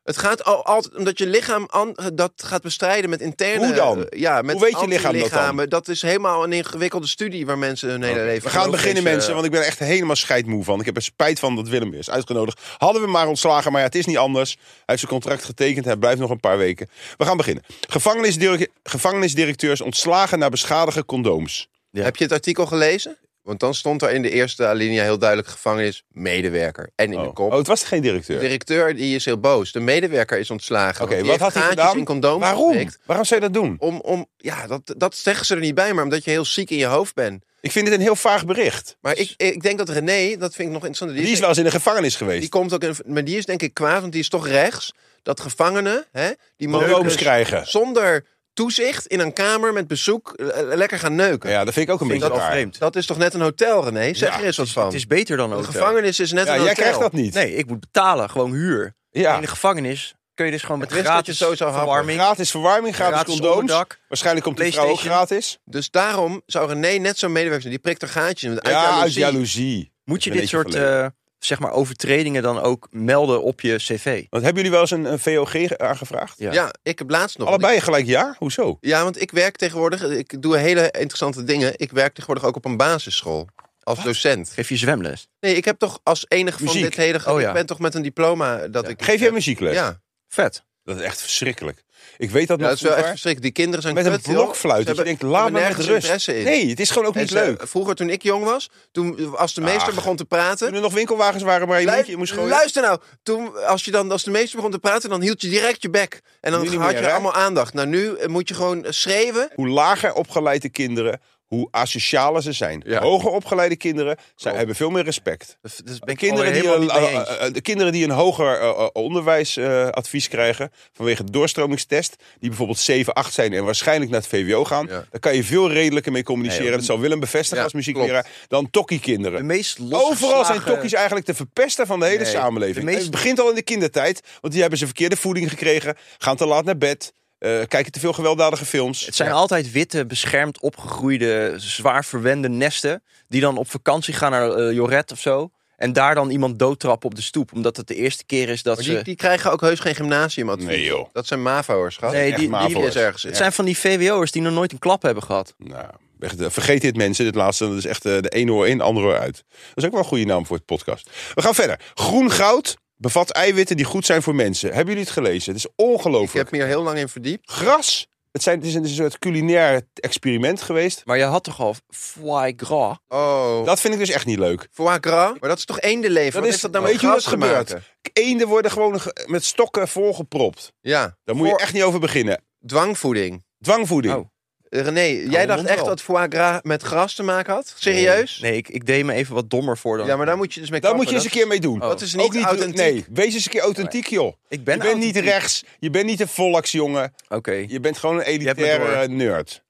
S4: Het gaat al, altijd omdat je lichaam an- dat gaat bestrijden met interne...
S2: Hoe dan?
S4: eh, Ja, met
S2: Hoe weet je lichaam dat dan?
S4: antilichamen. Dat is helemaal een ingewikkelde studie waar mensen hun hele leven...
S2: Oh,
S4: eh,
S2: We gaan beginnen,
S4: deze-
S2: mensen, want ik ben er echt helemaal scheidmoe van. Ik heb er spijt van dat Willem weer is uitgenodigd. Hadden we hem maar ontslagen, maar ja, het is niet anders. Hij heeft zijn contract getekend, hij blijft nog een paar weken. We gaan beginnen. Gevangenisdir- gevangenisdirecteurs ontslagen na beschadigen condooms.
S3: Ja.
S4: Heb je het artikel gelezen? Want dan stond er in de eerste alinea heel duidelijk gevangenis medewerker. En in de
S2: Oh.
S4: kop.
S2: Oh, het was geen
S4: De
S2: directeur.
S4: directeur die is heel boos. De medewerker is ontslagen.
S2: Oké,
S4: want die
S2: wat had
S4: heeft
S2: hij
S4: gaatjes
S2: gedaan?
S4: in condooms
S2: Waarom?
S4: geprikt.
S2: Waarom zou je dat doen?
S4: Om, om, ja, dat, dat zeggen ze er niet bij, maar omdat je heel ziek in je hoofd bent.
S2: Ik vind dit een heel vaag bericht.
S4: Maar ik, ik denk dat René, dat vind ik nog interessant.
S2: Die is wel eens in de gevangenis geweest.
S4: die komt ook in, maar die is denk ik kwaad, want die is toch rechts. Dat gevangenen, hè, die mogen
S2: Condooms
S4: dus
S2: krijgen.
S4: zonder toezicht in een kamer met bezoek eh, lekker gaan neuken.
S2: Ja, dat vind ik ook een
S3: Vind ik
S2: beetje
S3: wel
S2: raar.
S3: vreemd.
S4: Dat is toch net een hotel, René? Zeg
S2: Ja,
S4: er eens wat van.
S3: Het is beter dan
S4: een
S3: ook.
S4: gevangenis is net
S2: Ja,
S4: een hotel.
S2: jij krijgt dat niet.
S3: Nee, ik moet betalen. Gewoon huur.
S2: Ja.
S3: In de gevangenis kun je dus gewoon met
S4: wist dat je
S3: gratis
S4: zo zou happen.
S3: verwarming,
S2: Gratis verwarming, gratis,
S3: Gratis
S2: condooms.
S3: onderdak.
S2: Waarschijnlijk komt die vrouw ook
S3: PlayStation.
S2: gratis.
S4: Dus daarom zou René net zo'n medewerker zijn. Die prikt er gaatjes in. want Uit
S2: ja, uit
S4: jaloezie.
S2: jaloezie.
S3: moet je
S2: Ben
S3: dit
S2: ik
S3: soort
S2: verlegen.
S3: eh, zeg maar overtredingen dan ook melden op je cv.
S2: Want hebben jullie wel eens een, een VOG aangevraagd?
S3: Ja.
S4: Ja, ik heb laatst nog.
S2: Allebei gelijk ja? Hoezo?
S4: Ja, want ik werk tegenwoordig, ik doe hele interessante dingen. Ik werk tegenwoordig ook op een basisschool. Als docent.
S3: Geef je zwemles.
S4: Nee, ik heb toch als enig van
S2: Muziek.
S4: dit hele... ge-
S3: Oh, ja.
S4: Ik ben toch met een diploma dat
S3: Ja.
S4: ik...
S2: Geef jij muziekles?
S4: Ja.
S3: Vet.
S2: Dat is echt verschrikkelijk. Ik weet dat
S4: Ja,
S2: nog
S4: dat is wel echt
S2: vroeger.
S4: verschrikkelijk. Die kinderen zijn
S2: Met een
S4: kut, joh.
S2: blokfluit.
S4: Ze
S2: Dat je denkt,
S4: hebben-
S2: laat me
S4: hebben
S2: met
S4: nergens
S2: rust.
S4: interesse in.
S2: Nee, het is gewoon ook
S4: En
S2: niet
S4: ze-
S2: leuk.
S4: Vroeger toen ik jong was, toen als de meester
S2: Ach.
S4: begon te praten...
S2: Toen er nog winkelwagens waren, maar je,
S4: Lu-
S2: mondje in moest gooien.
S4: luister nou, toen, als, je dan, als de meester begon te praten, dan hield je direct je bek. En dan
S2: Nu niet
S4: had
S2: meer,
S4: je
S2: hè?
S4: allemaal aandacht. Nou, nu eh, moet je gewoon eh, schreeuwen.
S2: Hoe lager opgeleide kinderen, hoe asocialer ze zijn.
S3: Ja.
S2: Hoger opgeleide kinderen zijn, hebben veel meer respect.
S3: Dat, dat ben ik
S2: Kinderen
S3: er
S2: die,
S3: Oh, helemaal
S2: een,
S3: niet mee eens.
S2: eh, eh, de kinderen die een hoger eh, onderwijsadvies eh, krijgen vanwege de doorstromingstest, die bijvoorbeeld 7, 8 zijn en waarschijnlijk naar het VWO gaan,
S4: Ja.
S2: daar kan je veel redelijker mee communiceren.
S3: Nee,
S2: dat zal Willem bevestigen
S4: Ja,
S2: als muziekleraar. Dan
S3: de
S2: tokkiekinderen.
S3: meest losgeslagen...
S2: Overal zijn tokkies eigenlijk de verpester van de hele
S3: Nee,
S2: samenleving.
S3: de meest-
S2: Het begint al in de kindertijd, want die hebben ze verkeerde voeding gekregen, gaan te laat naar bed, eh, kijken te veel gewelddadige films.
S3: Het zijn altijd witte, beschermd opgegroeide, zwaar verwende nesten. Die dan op vakantie gaan naar eh, Joret of zo. En daar dan iemand doodtrappen op de stoep. Omdat het de eerste keer is dat
S4: Maar
S3: ze...
S4: die, die krijgen ook heus geen gymnasiumadvies.
S2: Nee, joh.
S4: Dat zijn mavo'ers, gast.
S3: nee,
S2: echt
S3: die, die,
S2: mavo'ers.
S4: is ergens.
S3: het zijn van die VWO'ers die nog nooit een klap hebben gehad.
S2: Nou, echt, eh, vergeet dit mensen, dit laatste. Dat is echt eh, de ene oor in, de andere oor uit. Dat is ook wel een goede naam voor het podcast. We gaan verder. Groen goud bevat eiwitten die goed zijn voor mensen. Hebben jullie het gelezen? Het is
S4: Ik
S2: ongelooflijk.
S4: heb me hier heel lang in verdiept.
S2: Gras. Het, zijn, het is een soort culinair experiment geweest.
S3: Maar je had toch al foie gras?
S4: Oh,
S2: Dat vind ik dus echt niet leuk.
S4: foie gras. Maar dat is toch eendenleven?
S2: Dat
S4: Wat
S2: is-
S4: heeft dat nou
S2: weet
S4: met
S2: je hoe
S4: gras
S2: dat
S4: te
S2: gebeurt?
S4: maken?
S2: Eenden worden gewoon ge- met stokken volgepropt.
S4: Ja,
S2: Daar moet je
S4: Voor-
S2: echt niet over beginnen.
S4: dwangvoeding.
S2: Dwangvoeding.
S3: Oh.
S4: Eh, René, jij
S3: je
S4: dacht
S3: mond
S4: echt
S3: wel.
S4: dat foie gras met gras te maken had? Serieus?
S3: Nee, ik, ik deed me even wat dommer voor dan.
S4: Ja, maar daar moet je dus mee
S2: Daar
S4: kappen.
S2: moet je eens een keer mee doen.
S3: Oh.
S4: Dat is niet,
S2: Ook
S4: authentiek. Oh
S2: Nee, wees eens een keer authentiek, joh.
S3: ik
S2: Je
S3: ben
S2: bent niet
S3: authentiek.
S2: rechts. Je bent niet een volksjongen.
S3: Oké.
S2: Je bent gewoon een
S3: hebt me door.
S2: elitaire nerd.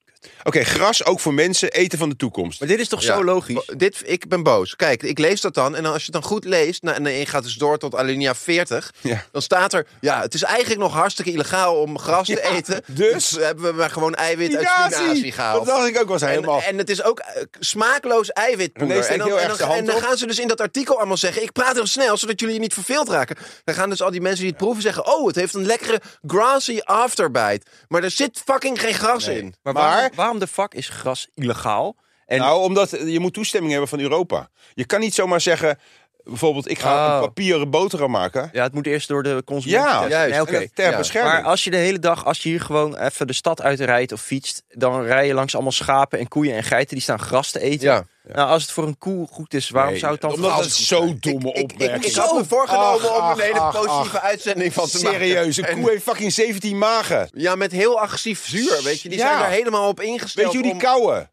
S2: Oké, gras ook voor mensen, eten van de toekomst.
S3: Maar dit is toch
S4: Ja.
S3: zo logisch?
S4: Wa- Dit, ik ben boos. Kijk, ik lees dat dan. En dan, als je het dan goed leest, nou, en je gaat dus door tot alinea 40.
S2: Ja.
S4: Dan staat er, ja, het is eigenlijk nog hartstikke illegaal om gras te
S2: Ja,
S4: eten.
S2: dus?
S4: hebben we maar gewoon eiwit uit spinazie
S2: Dat
S4: gehaald.
S2: dacht ik ook wel eens
S4: En,
S2: helemaal.
S4: en het is ook eh, smaakloos eiwitpoeder.
S2: René steekt
S4: en dan,
S2: heel
S4: en
S2: erg
S4: dan,
S2: zijn hand
S4: en dan
S2: op.
S4: gaan ze dus in dat artikel allemaal zeggen... ik praat heel snel, zodat jullie je niet verveeld raken. Dan gaan dus al die mensen die het proeven zeggen... oh, het heeft een lekkere grassy afterbite. Maar er zit fucking geen gras in.
S3: Maar,
S2: Maar-
S3: waarom, waarom de fuck is gras illegaal? En
S2: Nou, omdat eh, je moet toestemming hebben van Europa. Je kan niet zomaar zeggen, bijvoorbeeld, ik ga
S3: Oh.
S2: een papieren boterham maken.
S3: ja, het moet eerst door de consument.
S2: Ja,
S3: getest.
S4: juist.
S3: Nee, oké.
S2: En dat ter
S4: Ja.
S2: bescherming.
S3: Maar als je de hele dag, als je hier gewoon even de stad uitrijdt of fietst, dan rij je langs allemaal schapen en koeien en geiten die staan gras te eten.
S4: Ja.
S3: Nou, als het voor een koe goed is, waarom
S2: Nee,
S3: zou het dan voor
S2: Omdat
S3: gras
S2: het
S3: goed
S2: zo'n
S3: zijn?
S2: domme
S4: Ik, ik,
S2: opmerking
S4: ik had me voorgenomen
S2: Ach,
S4: om
S2: ach,
S4: een hele
S2: ach,
S4: positieve uitzending van te maken.
S2: Serieus, een koe heeft fucking 17 magen.
S4: Ja, met heel agressief zuur, weet je. Die
S2: Ja.
S4: zijn daar helemaal op ingesteld.
S2: Weet je hoe die
S4: om-
S2: kauwen?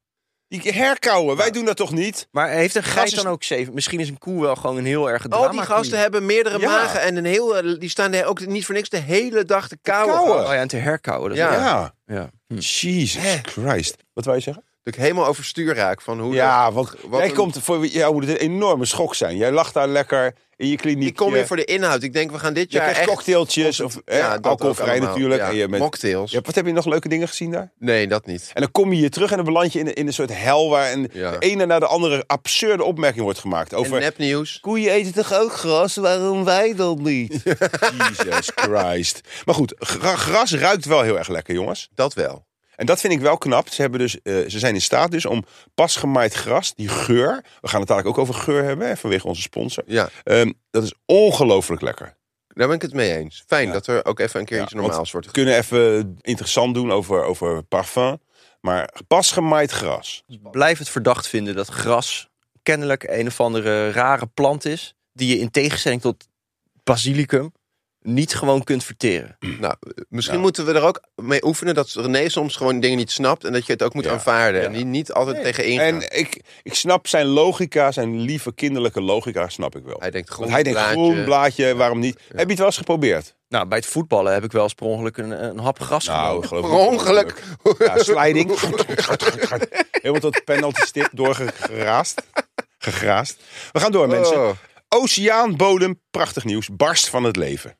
S2: Die herkauwen, wij doen dat toch niet?
S3: Maar heeft een geit
S2: Gras is- Oh,
S3: dan ook zeven? Misschien is een koe wel gewoon een heel erg drama.
S4: Al die gasten hebben meerdere
S2: Ja.
S4: magen en een heel, eh, die staan daar ook niet voor niks de hele dag te kauwen.
S2: kauwen.
S4: gast.
S3: Oh ja, en te herkauwen. dat-
S4: Ja.
S2: Ja.
S3: ja.
S2: Ah, Jesus Christ. Wat wou je zeggen?
S4: Dat ik helemaal overstuur raak van hoe...
S2: Ja, want
S4: wat
S2: jij
S4: een-
S2: komt voor jou moet het een enorme schok zijn. Jij lag daar lekker in je kliniek.
S4: Ik kom weer
S2: je-
S4: voor de inhoud. Ik denk, we gaan dit
S2: Je
S4: jaar
S2: krijgt
S4: echt...
S2: cocktailtjes of eh,
S4: Ja, dat ook
S2: alcoholvrij
S4: allemaal.
S2: natuurlijk.
S4: Ja,
S2: En je bent-
S4: Mocktails.
S2: Ja, wat heb je nog leuke dingen gezien daar?
S4: Nee, dat niet.
S2: En dan kom je hier terug en dan beland je in, in een soort hel waar een,
S4: Ja.
S2: de ene na de andere absurde opmerking wordt gemaakt
S4: En
S2: over
S4: nepnieuws.
S2: koeien eten toch ook gras, waarom wij dan niet? Jesus Christ. Maar goed, gra- gras ruikt wel heel erg lekker, jongens.
S4: Dat wel.
S2: En dat vind ik wel knap. Ze, hebben dus, eh, ze zijn in staat dus om pasgemaaid gras, die geur. We gaan het dadelijk ook over geur hebben, hè, vanwege onze sponsor.
S4: Ja,
S2: Ehm, dat is ongelooflijk lekker.
S4: daar ben ik het mee eens. Fijn
S2: Ja.
S4: dat er ook even een keertje
S2: Ja,
S4: normaal
S2: want
S4: wordt.
S2: We kunnen even interessant doen over, over parfum. Maar pasgemaaid gras.
S3: Blijf het verdacht vinden dat gras kennelijk een of andere rare plant is. Die je in tegenstelling tot basilicum niet gewoon kunt verteren.
S4: Nou, misschien moeten we er ook mee oefenen dat René soms gewoon dingen niet snapt. En dat je het ook moet
S2: Ja.
S4: aanvaarden. En niet, niet altijd tegen ingaan.
S2: En ik, ik snap zijn logica, zijn lieve kinderlijke logica, snap ik wel.
S4: hij denkt groen
S2: Want hij denkt,
S4: blaadje.
S2: groen blaadje, waarom niet? Heb je het wel eens geprobeerd?
S3: Nou, bij het voetballen heb ik wel eens per ongeluk een, een hap gras genomen.
S2: geloof
S4: Per
S2: ik niet.
S4: ongeluk.
S2: Nou, Ja, sliding. Helemaal tot de penalty stip doorgeraast. Gegraast. We gaan door, mensen.
S4: Oh.
S2: Oceaanbodem, prachtig nieuws. Barst van het leven.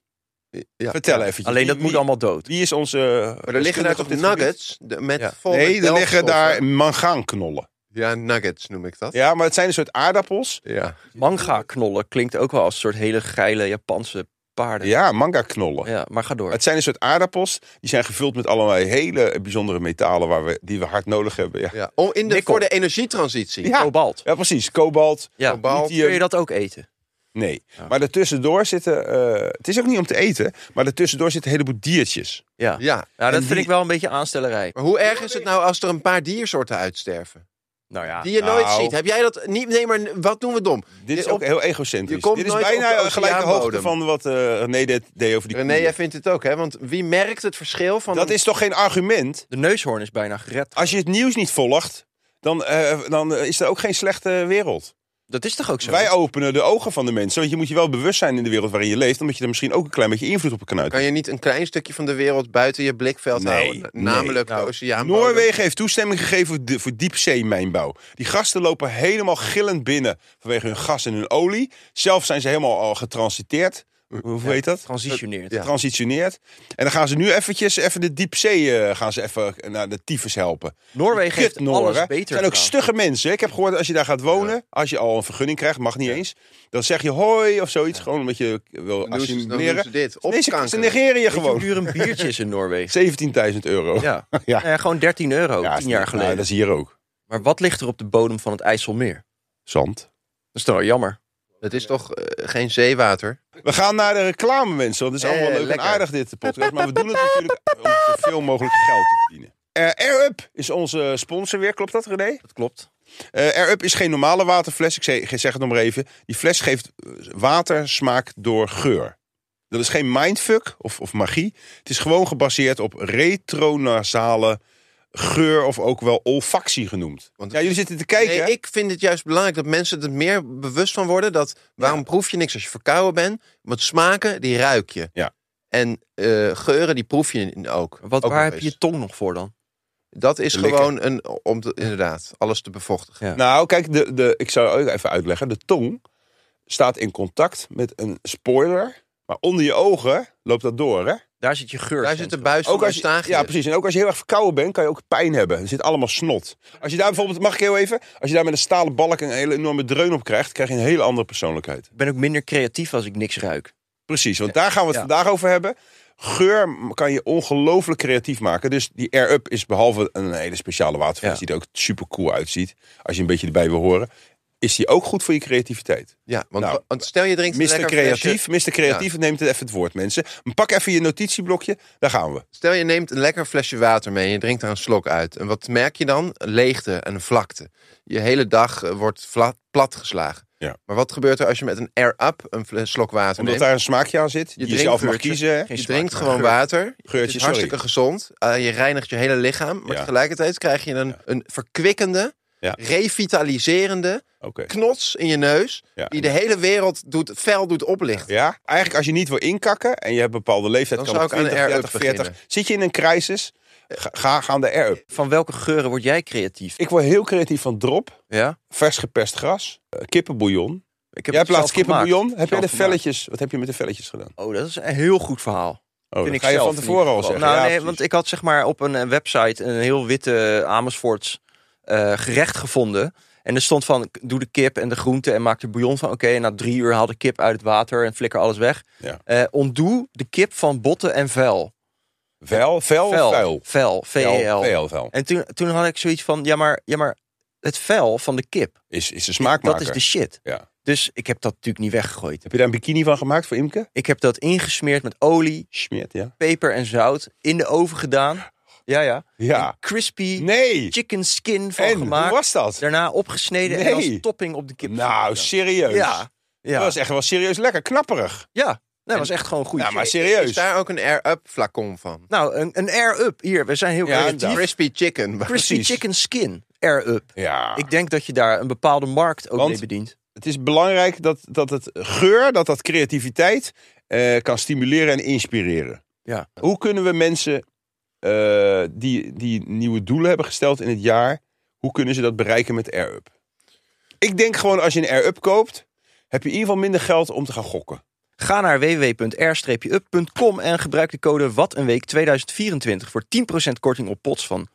S4: Ja.
S2: Vertel eventjes.
S3: Alleen dat
S2: Wie-
S3: moet
S2: wie-
S3: allemaal dood.
S2: Wie is onze...
S4: Maar er liggen daar toch nuggets de- met
S3: Ja.
S4: volle
S2: Nee, er liggen
S4: delfstoffen?
S2: daar mangaanknollen.
S4: Ja, nuggets noem ik dat.
S2: Ja, maar het zijn een soort aardappels.
S4: Ja.
S3: Manga-knollen klinkt ook wel als een soort hele geile Japanse paarden.
S2: Ja, manga-knollen.
S3: Ja, maar ga door.
S2: Het zijn een soort aardappels. Die zijn gevuld met allerlei hele bijzondere metalen waar we, die we hard nodig hebben. Ja,
S4: Ja. Om in de,
S3: Nikkel.
S4: voor de energietransitie.
S2: Ja.
S3: Kobalt.
S2: ja precies. Kobalt.
S3: Ja.
S4: Kobalt.
S3: Kun je dat ook eten?
S2: Nee. Maar daartussendoor zitten... eh, het is ook niet om te eten. Maar daartussendoor zitten een heleboel diertjes.
S3: Ja. ja.
S4: Ja.
S3: Nou, dat
S2: En
S3: vind
S2: die-
S3: ik wel een beetje aanstellerij.
S4: Maar hoe erg is het nou als er een paar diersoorten uitsterven?
S3: Nou ja.
S4: Die je
S2: Nou.
S4: nooit ziet. Heb jij dat niet? Nee, maar wat doen we dom?
S2: Dit is
S4: Op-
S2: ook heel egocentrisch.
S4: je komt
S2: Dit is
S4: nooit op de
S2: bijna gelijk de hoogte
S4: oceaanbodem.
S2: van wat eh René dit deed over die
S4: René,
S2: koeien.
S4: jij vindt het ook, hè? Want wie merkt het verschil van...
S2: Dat
S4: een-
S2: is toch geen argument?
S3: De neushoorn is bijna gered.
S2: Als je het nieuws niet volgt, dan, eh, dan eh, is er ook geen slechte wereld.
S3: Dat is toch ook zo?
S2: Wij openen de ogen van de mensen. Want je moet je wel bewust zijn in de wereld waarin je leeft. Omdat je er misschien ook een klein beetje invloed op kan
S4: Kan
S2: uiten.
S4: je niet een klein stukje van de wereld buiten je blikveld
S2: Nee,
S4: houden?
S2: nee.
S4: Namelijk
S3: Nou,
S4: de oceaan.
S2: Noorwegen heeft toestemming gegeven voor, de, voor diepzeemijnbouw. Die gasten lopen helemaal gillend binnen vanwege hun gas en hun olie. Zelf zijn ze helemaal al getransiteerd. Hoe- Hoe heet dat?
S3: Transitioneert.
S4: Ja.
S2: Transitioneerd. En dan gaan ze nu eventjes even de diepzee eh, gaan ze even naar de tyfus helpen.
S3: Noorwegen heeft
S2: Kutnoren, hè?
S3: alles
S2: Het
S3: beter
S2: zijn ook
S3: gedaan.
S2: stugge mensen. Ik heb gehoord als je daar gaat wonen, als je al een vergunning krijgt, mag niet eens. Dan zeg je hoi of zoiets, gewoon omdat je wil
S4: Dan doen ze, dan doen
S2: assimileren.
S4: ze dit.
S2: Nee, ze, ze
S4: Opkanken.
S2: negeren je
S3: Weet je hoe
S2: gewoon.
S3: duur een biertje is in Noorwegen?
S2: 17.000 euro.
S3: Ja.
S2: Ja.
S3: Nou ja, gewoon 13 euro,
S2: Ja,
S3: 10 jaar
S2: nou,
S3: geleden.
S2: dat is hier ook.
S3: Maar wat ligt er op de bodem van het IJsselmeer?
S2: Zand.
S3: Dat is toch wel jammer.
S4: Het is toch eh, geen zeewater?
S2: We gaan naar de reclame, mensen. Want het is
S4: Eh,
S2: allemaal leuk
S4: lekker.
S2: en aardig, dit podcast. Maar we doen het natuurlijk om zoveel mogelijk geld te verdienen. Eh, Air Up is onze sponsor weer. Klopt dat, René?
S3: Dat klopt.
S2: Eh Air Up is geen normale waterfles. Ik zeg, ik zeg het nog maar even. Die fles geeft eh, water smaak door geur. Dat is geen mindfuck of, of magie. Het is gewoon gebaseerd op retronasale geur of ook wel olfactie genoemd.
S4: Want-
S2: ja, jullie zitten te kijken.
S4: Nee,
S2: hè?
S4: ik vind het juist belangrijk dat mensen er meer bewust van worden. Dat waarom proef je niks als je verkouden bent? Want smaken, die ruik je.
S2: Ja.
S4: En eh, geuren, die proef je ook.
S3: Wat,
S4: ook
S3: waar
S4: nog
S3: heb je
S4: eens.
S3: je tong nog voor dan?
S4: Dat is
S2: Te likken.
S4: gewoon een, om te- inderdaad, alles te bevochtigen.
S3: Ja.
S2: Nou, kijk, de, de, ik zou ook even uitleggen. De tong staat in contact met een spoiler. Maar onder je ogen loopt dat door, hè?
S3: Daar zit je geur.
S4: Daar zit de buis van
S2: Ook als je,
S4: Eustachius.
S2: ja, precies. En ook als je heel erg verkouden bent, kan je ook pijn hebben. Er zit allemaal snot. Als je daar bijvoorbeeld, mag ik heel even? Als je daar met een stalen balk een hele enorme dreun op krijgt, krijg je een hele andere persoonlijkheid.
S3: Ik ben ook minder creatief als ik niks ruik.
S2: Precies, want daar gaan we het
S3: Ja.
S2: vandaag over hebben. Geur kan je ongelooflijk creatief maken. Dus die Air Up is behalve een hele speciale waterfles
S3: Ja.
S2: die er ook super cool uitziet. Als je een beetje erbij wil horen. Is die ook goed voor je creativiteit?
S4: Ja, want,
S2: Nou,
S4: want stel je drinkt een
S2: Mr.
S4: lekker flesje-
S2: Creatief, Mr. Creatief neemt het even het woord, mensen. Pak even je notitieblokje, daar gaan we.
S4: Stel je neemt een lekker flesje water mee en je drinkt daar een slok uit. En wat merk je dan? Een leegte en een vlakte. Je hele dag eh, wordt vla- platgeslagen.
S2: Ja.
S4: Maar wat gebeurt er als je met een air up een fles- slok water
S2: Omdat
S4: neemt?
S2: daar een smaakje aan zit, die je
S4: drinkt
S2: zelf mag
S4: geurtje.
S2: kiezen. hè?
S3: Geen
S4: Je
S3: smaak,
S4: drinkt
S3: maar
S4: gewoon
S3: geur.
S4: water. het
S2: Geurtje,
S4: is
S2: sorry.
S4: hartstikke gezond. Eh, je reinigt je hele lichaam. Maar
S2: Ja.
S4: tegelijkertijd krijg je een, een verkwikkende,
S2: Ja.
S4: revitaliserende
S2: Oké.
S4: knots in je neus.
S2: Ja.
S4: Die de hele wereld doet, fel doet oplichten.
S2: Ja, eigenlijk als je niet wil inkakken en je hebt een bepaalde leeftijd,
S4: Dan
S2: kan
S4: zou
S2: het
S4: ik aan een
S2: 20,
S4: air-up
S2: 30, 40.
S4: beginnen.
S2: Zit je in een crisis, ga, ga, ga aan de air-up.
S3: Van welke geuren word jij creatief?
S2: Ik word heel creatief van drop,
S3: Ja?
S2: vers geperst gras, eh, kippenbouillon.
S3: Ik heb
S2: Jij hebt
S3: het
S2: laatst
S3: zelf gemaakt.
S2: kippenbouillon. Heb jij de
S3: Zelf gemaakt.
S2: velletjes, wat heb je met de velletjes gedaan?
S3: Oh, dat is een heel goed verhaal.
S2: Oh,
S3: vind
S2: dat
S3: ik
S2: ga je
S3: zelf
S2: van
S3: in
S2: tevoren
S3: ieder
S2: al
S3: geval.
S2: zeggen.
S3: Nou,
S2: Ja,
S3: nee,
S2: precies.
S3: want ik had zeg maar op een eh, website een heel witte Amersfoorts eh, gerecht gevonden. En er stond van, doe de kip en de groenten en maak er bouillon van. Oké, en na drie uur haal de kip uit het water en flikker alles weg.
S2: Ja.
S3: Eh, ontdoe de kip van botten en vuil.
S2: Vel, vel,
S3: Vel,
S2: Oh, vuil. E
S3: Vel,
S2: Vel,
S3: V-E-L.
S2: vel, vel.
S3: En toen, toen had ik zoiets van, ja maar, ja maar het vel van de kip,
S2: Is, is een
S3: dat
S2: smaakmaker.
S3: is de shit.
S2: Ja.
S3: Dus ik heb dat natuurlijk niet weggegooid.
S2: Heb je daar een bikini van gemaakt voor Imke?
S3: Ik heb dat ingesmeerd met olie,
S2: Schmeert, ja.
S3: peper en zout, in de oven gedaan. Ja, ja.
S2: Ja.
S3: Crispy
S2: Nee.
S3: chicken skin van
S2: En, hoe
S3: gemaakt.
S2: was dat?
S3: Daarna opgesneden
S2: Nee.
S3: en als topping op de kip.
S2: Nou, serieus.
S3: ja. Ja.
S2: Dat was echt wel serieus lekker knapperig.
S3: ja. dat was echt gewoon goed.
S2: Ja, maar serieus.
S4: Is daar ook een air-up flacon van?
S3: Nou, een, een air-up. Hier, we zijn heel
S2: Ja,
S3: creatief.
S2: inderdaad.
S4: Crispy chicken.
S3: Crispy
S2: precies.
S3: chicken skin air-up.
S2: Ja.
S3: Ik denk dat je daar een bepaalde markt ook
S2: Want-
S3: mee bedient.
S2: Het is belangrijk dat, dat het geur, dat dat creativiteit eh, kan stimuleren en inspireren.
S3: Ja.
S2: Hoe kunnen we mensen eh, die, die nieuwe doelen hebben gesteld in het jaar, hoe kunnen ze dat bereiken met Air-Up? Ik denk gewoon als je een Air-Up koopt, heb je in ieder geval minder geld om te gaan gokken.
S3: Ga naar www.r-up.com en gebruik de code Wat een Week 2024 voor 10% korting op pots van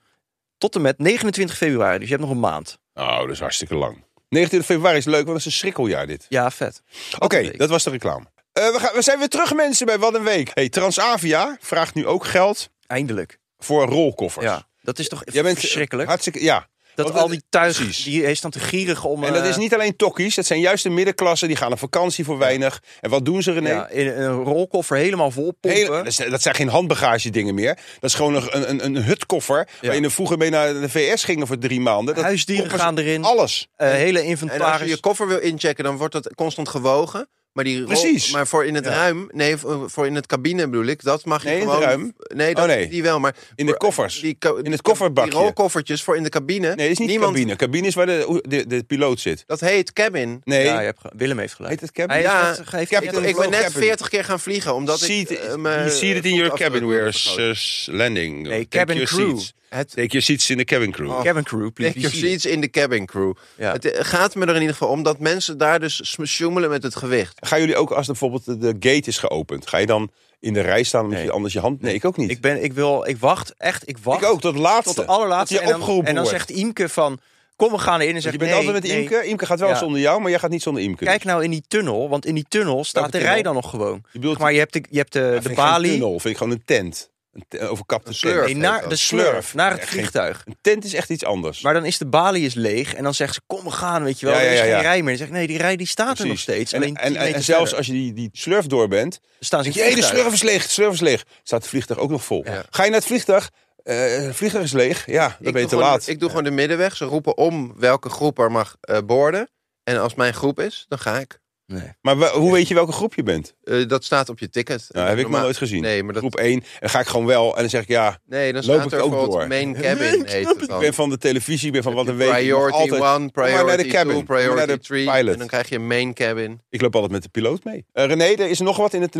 S3: tot en met 29 februari. Dus je hebt nog een maand.
S2: Oh, dat is hartstikke lang. 29 februari is leuk, want dat is een schrikkeljaar dit.
S3: Ja, vet.
S2: Oké,
S3: week.
S2: dat was de reclame. Eh, we, gaan, we zijn weer terug mensen bij Wat een Week. Hey, Transavia vraagt nu ook geld
S3: Eindelijk.
S2: voor rolkoffers.
S3: Ja, dat is toch
S2: Jij bent eh,
S3: verschrikkelijk?
S2: Hartstikke, ja.
S3: dat
S2: want
S3: al
S2: het-
S3: die thuis,
S2: precies.
S3: die is dan te gierig om...
S2: En dat
S3: eh,
S2: is niet alleen tokkies, dat zijn juist de middenklassen. Die gaan op vakantie voor weinig. En wat doen ze, René?
S3: ja, in een rolkoffer helemaal vol pompen.
S2: Hele- dat zijn- dat zijn geen handbagage dingen meer. Dat is gewoon een, een, een hutkoffer. Waar je vroeger mee naar de VS gingen voor drie maanden. Dat
S3: Huisdieren
S2: koffers-
S3: gaan erin.
S2: Alles.
S3: Eh, hele
S4: En als je
S3: inventaris.
S4: je koffer wil inchecken, dan wordt dat constant gewogen. Maar, die rol-
S2: Precies.
S4: maar voor in het ruim, nee, voor voor in het cabine bedoel ik, dat mag je
S2: Nee, in het
S4: gewoon.
S2: ruim.
S4: Nee, dat,
S2: Oh, nee.
S4: die wel, maar
S2: In de
S4: voor-
S2: koffers.
S4: die ko-
S2: In het
S4: die-
S2: kofferbakje.
S4: Die rolkoffertjes voor in de cabine.
S2: Nee, dat is niet
S4: niemand,
S2: cabine. Cabine is waar de, de, de piloot zit.
S4: Dat heet cabin.
S2: Nee,
S3: Ja, je hebt ge- Willem heeft gelijk.
S2: heet het cabine?
S3: Hij heeft
S4: Ja,
S3: net- heeft
S2: Captain
S3: net-
S2: Vlog
S4: Ik ben net
S2: cabin.
S4: 40 keer gaan vliegen, omdat
S2: Seat,
S4: ik... eh,
S2: you
S4: mijn
S2: see it in
S4: voet
S2: your
S4: afdruk
S2: cabin
S4: wil
S2: where's
S4: vergroten.
S2: landing. Take
S3: Nee, cabin
S2: your
S3: crew. Oh,
S2: Seats.
S4: Het,
S2: Take your seats in the cabin crew.
S3: Cabin crew, please.
S4: Take your seats in the cabin crew.
S3: Ja.
S4: Het eh, gaat me er in ieder geval om dat mensen daar dus sm- sjoemelen met het gewicht.
S2: Gaan jullie ook, als bijvoorbeeld de de gate is geopend, ga je dan in de rij staan omdat
S3: Nee.
S2: je anders je hand... Nee, ik ook niet.
S3: Ik, ben, ik, wil, ik wacht, echt, ik wacht.
S2: Ik ook, dat laatste.
S3: Tot de allerlaatste.
S2: Dat je
S3: en dan,
S2: opgeroepen
S3: en dan
S2: wordt.
S3: zegt Imke van, kom we gaan erin. En zegt,
S2: Dus je bent
S3: nee,
S2: altijd met
S3: nee.
S2: Imke. Imke gaat wel
S3: Ja.
S2: zonder jou, maar jij gaat niet zonder Imke. Dus
S3: Kijk nou in die tunnel, want in die tunnel staat
S2: Welke
S3: de rij dan
S2: tunnel?
S3: nog gewoon.
S2: Je bedoelt-
S3: maar je hebt de, je hebt de,
S2: Dat
S3: de
S2: vind ik geen
S3: balie,
S2: tunnel, vind ik gewoon een tent. Een te- overkapte
S4: Een
S2: tent.
S4: slurf.
S3: nee, naar, de slurf,
S2: Slurf.
S3: naar het
S2: Echt
S3: vliegtuig.
S2: Een tent is echt iets anders.
S3: Maar dan is de balie is leeg en dan zegt ze, kom we gaan, weet je wel.
S2: Ja, ja,
S3: Er is
S2: ja,
S3: geen
S2: ja.
S3: rij meer. En zegt, nee, die rij die staat er nog
S2: Precies.
S3: steeds.
S2: En,
S3: Alleen
S2: en,
S3: 10
S2: en, en
S3: meter
S2: zelfs
S3: verder.
S2: als je die, die slurf door bent,
S3: staan ze in het
S2: Jee, de
S3: vliegtuig.
S2: slurf is leeg, de slurf is leeg. Staat het vliegtuig ook nog vol.
S4: Ja.
S2: Ga je naar het vliegtuig, eh, het vliegtuig is leeg. Ja, dan ben je
S4: doe
S2: te
S4: gewoon,
S2: laat.
S4: Ik doe gewoon de middenweg. Ze roepen om welke groep er mag eh boorden. En als mijn groep is, dan ga ik.
S3: Nee.
S2: Maar wa- hoe weet je welke groep je bent?
S4: Eh, dat staat op je ticket.
S2: Nou, heb ik nog
S4: Normaal-
S2: nooit gezien.
S4: Nee, maar dat,
S2: Groep 1. En dan ga ik gewoon wel. En dan zeg ik ja,
S4: nee, dan
S2: loop
S4: staat
S2: ik
S4: er
S2: ook
S4: bijvoorbeeld
S2: door.
S4: main cabin. Heet het
S2: ik
S4: dan.
S2: ben van de televisie, ik ben van wat een week. Ik mag
S4: Priority
S2: altijd-
S4: 1,
S2: maar naar de
S4: priority 2,
S2: cabin. Kom maar naar
S4: priority
S2: de
S4: 3.
S2: pilot.
S4: En dan krijg je main cabin.
S2: Ik loop altijd met de piloot mee. Eh, René, er is nog wat in het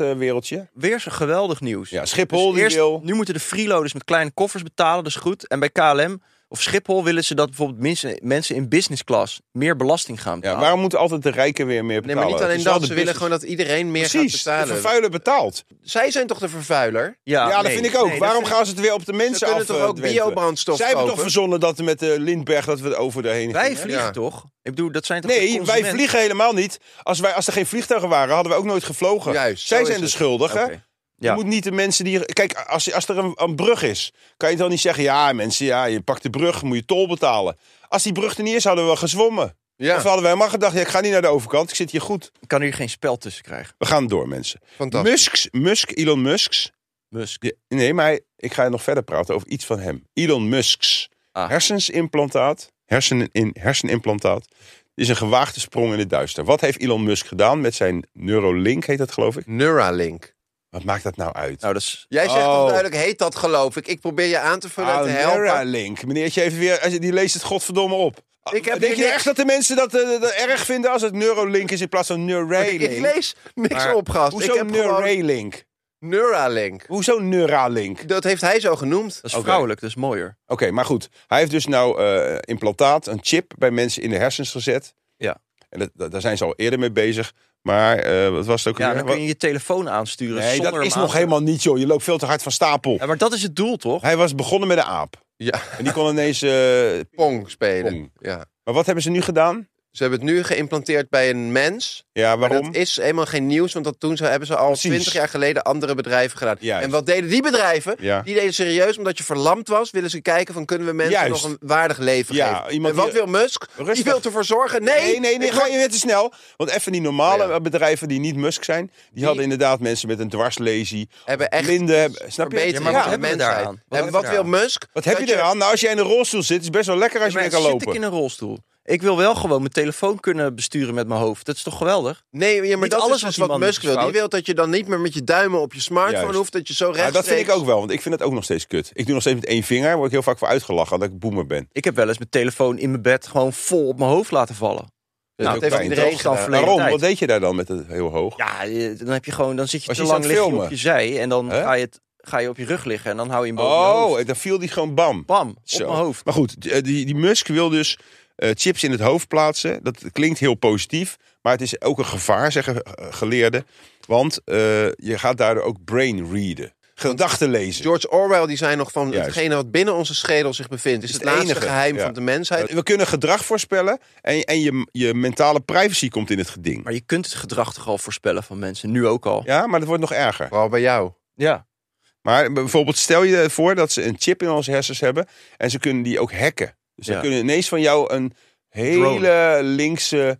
S2: luchtvaartwereldje.
S3: Weer zo geweldig nieuws.
S2: Ja,
S3: Dus
S2: Schiphol, die
S3: eerst-
S2: wil.
S3: nu moeten de freeloaders met kleine koffers betalen, dat is goed. En bij KLM of Schiphol willen ze dat bijvoorbeeld mensen, mensen in business class meer belasting gaan
S2: Ja,
S3: betalen.
S2: waarom moeten altijd de rijken weer meer
S4: Nee,
S2: betalen?
S4: maar niet alleen
S2: Het is wel
S4: dat.
S2: de
S4: Ze willen
S2: business.
S4: gewoon dat iedereen meer
S2: Precies,
S4: gaat
S2: de
S4: betalen.
S2: vervuiler betaalt.
S4: Zij zijn toch de vervuiler?
S2: Ja, dat
S3: nee,
S2: vind ik ook.
S3: nee, dat
S2: waarom
S3: vind-
S2: gaan ze het weer op de
S4: Ze
S2: mensen af?
S4: kunnen toch ook
S2: eh, dwentelen?
S4: biobrandstof
S2: Zij hebben
S4: kopen?
S2: toch verzonnen dat we met eh, Lindbergh dat we over daarheen
S3: Wij
S2: gingen?
S3: vliegen
S4: Ja.
S3: toch? Ik bedoel, dat zijn toch de
S2: Nee, wij
S3: consumenten?
S2: vliegen helemaal niet. Als, wij, als er geen vliegtuigen waren, hadden wij ook nooit gevlogen.
S4: Juist,
S2: Zij
S4: zo
S2: zijn
S4: is
S2: de
S4: het.
S2: schuldigen.
S3: Oké. Ja.
S2: Je moet niet de mensen die... Kijk, als, als er een, een brug is, kan je dan niet zeggen... Ja, mensen, ja, je pakt de brug, moet je tol betalen. Als die brug er niet is, hadden we gezwommen.
S4: Ja,
S2: Of hadden wij helemaal gedacht, ja, ik ga niet naar de overkant. Ik zit hier goed.
S3: Ik kan hier geen spel tussen krijgen.
S2: We gaan door, mensen.
S4: fantastisch.
S2: Musk's, Musk, Elon Musk's
S3: Musk.
S2: Ja, nee, maar hij- ik ga nog verder praten over iets van hem. Elon Musk's
S3: Ah.
S2: hersensimplantaat, hersen in, hersenimplantaat, is een gewaagde sprong in het duister. Wat heeft Elon Musk gedaan met zijn Neuralink, heet dat geloof ik?
S4: Neuralink.
S2: Wat maakt dat nou uit?
S3: Nou, dat is...
S4: Jij zegt
S2: Oh.
S4: toch duidelijk, heet dat geloof ik. Ik probeer je aan te vullen en
S2: Ah,
S4: te helpen.
S2: Neuralink. Meneertje heeft weer, die leest het godverdomme op. Denk
S4: Ik heb hier
S2: je nou
S4: niks-
S2: echt dat de mensen dat, eh, dat erg vinden als het Neuralink is in plaats van Neuralink?
S4: Ik lees niks
S2: Maar
S4: op, gast.
S2: Hoezo
S4: ik heb gewoon
S2: Neuralink?
S4: Neuralink.
S2: Hoezo Neuralink?
S4: Dat heeft hij zo genoemd.
S3: Dat is
S2: Oké.
S3: vrouwelijk, dat is mooier.
S2: Oké, maar goed. Hij heeft dus nou eh, implantaat, een chip bij mensen in de hersens gezet.
S3: Ja.
S2: En dat, dat- daar zijn ze al eerder mee bezig. Maar eh, wat was het ook
S3: Ja,
S2: alweer?
S3: dan kun je je telefoon aansturen
S2: nee,
S3: zonder
S2: dat
S3: hem
S2: is
S3: aan
S2: nog
S3: te-
S2: helemaal niet, joh. Je loopt veel te hard van stapel.
S3: Ja, maar dat is het doel, toch?
S2: Hij was begonnen met een aap.
S4: Ja,
S2: En die kon ineens... eh,
S4: Pong spelen.
S2: Pong.
S4: Ja.
S2: Maar wat hebben ze nu gedaan?
S4: Ze hebben het nu geïmplanteerd bij een mens.
S2: Ja,
S4: Maar
S2: waarom?
S4: dat is helemaal geen nieuws, want dat toen ze, hebben ze al
S2: Precies.
S4: twintig jaar geleden andere bedrijven gedaan.
S2: Juist.
S4: En wat deden die bedrijven?
S2: Ja.
S4: Die deden serieus, omdat je verlamd was, willen ze kijken van kunnen we mensen
S2: Juist.
S4: nog een waardig leven
S2: Ja,
S4: geven.
S2: iemand
S4: En wat
S2: die-
S4: wil Musk? Die
S2: Rustig.
S4: wil ervoor zorgen. Nee,
S2: nee, nee, nee,
S4: ik
S2: ga je weer te snel. Want even die normale
S4: Oh, ja.
S2: bedrijven die niet Musk zijn... die, hadden inderdaad mensen met een dwarslesie.
S4: Hebben echt
S2: blinden, hebben- snap je?
S4: verbetering
S3: Ja,
S4: ja,
S3: maar wat hebben we
S4: mensheid.
S3: daaraan? Wat
S4: en
S3: hebben
S4: wat
S3: we
S4: wil
S3: daaraan?
S4: Musk?
S2: Wat heb
S4: Dat
S2: je eraan? Nou, als jij in een rolstoel zit, is het best wel lekker als je
S3: Maar
S2: weer kan
S3: zit
S2: lopen.
S3: ik in een rolstoel? Ik wil wel gewoon mijn telefoon kunnen besturen met mijn hoofd. Dat is toch geweldig?
S4: Nee, ja, maar
S3: Niet
S4: dat
S3: alles
S4: is
S3: wat
S4: dus
S3: die
S4: wat
S3: man
S4: Musk wil. Die
S3: fout.
S4: wil dat je dan niet meer met je duimen op je smartphone
S2: Juist.
S4: hoeft. Dat je zo
S2: Ja,
S4: rechtstreeks...
S2: dat vind ik ook wel, want ik vind dat ook nog steeds kut. Ik doe nog steeds met één vinger, word ik heel vaak voor uitgelachen dat ik boomer ben.
S3: Ik heb wel eens mijn telefoon in mijn bed gewoon vol op mijn hoofd laten vallen.
S4: dat
S3: Nou,
S4: heeft
S2: fijn,
S4: iedereen
S3: toch? Dan
S4: gedaan.
S3: verleden
S2: eh, Waarom?
S3: tijd.
S2: Wat deed je daar dan met het heel hoog?
S3: Ja, eh, dan, heb je gewoon, dan zit je
S2: Was
S3: te
S2: je
S3: lang
S2: iets aan
S3: liggen
S2: het
S3: op je zij. En dan
S2: Hè?
S3: ga je, het, ga je op je rug liggen. En dan hou je hem boven je hoofd.
S2: oh, dan viel die gewoon bam.
S3: Bam,
S2: Zo.
S3: op mijn hoofd.
S2: Maar goed, die, die die Musk wil dus eh, chips in het hoofd plaatsen. Dat klinkt heel positief, maar het is ook een gevaar, zeggen eh, geleerden. Want eh, je gaat daardoor ook brain readen. Gedachten lezen.
S4: George Orwell die zei nog van
S2: Juist.
S4: hetgene wat binnen onze schedel zich bevindt... is,
S2: Is
S4: het,
S2: het
S4: laatste
S2: enige.
S4: geheim
S2: Ja.
S4: van de mensheid.
S2: Eh, We kunnen gedrag voorspellen en, en je, je mentale privacy komt in het geding.
S3: Maar je kunt het gedrag toch al voorspellen van mensen. Nu ook al.
S2: Ja, maar dat wordt nog erger.
S4: Vooral bij jou.
S3: Ja.
S2: Maar bijvoorbeeld stel je voor dat ze een chip in onze hersens hebben en ze kunnen die ook hacken. Dus
S3: Ja.
S2: ze kunnen ineens van jou een hele linkse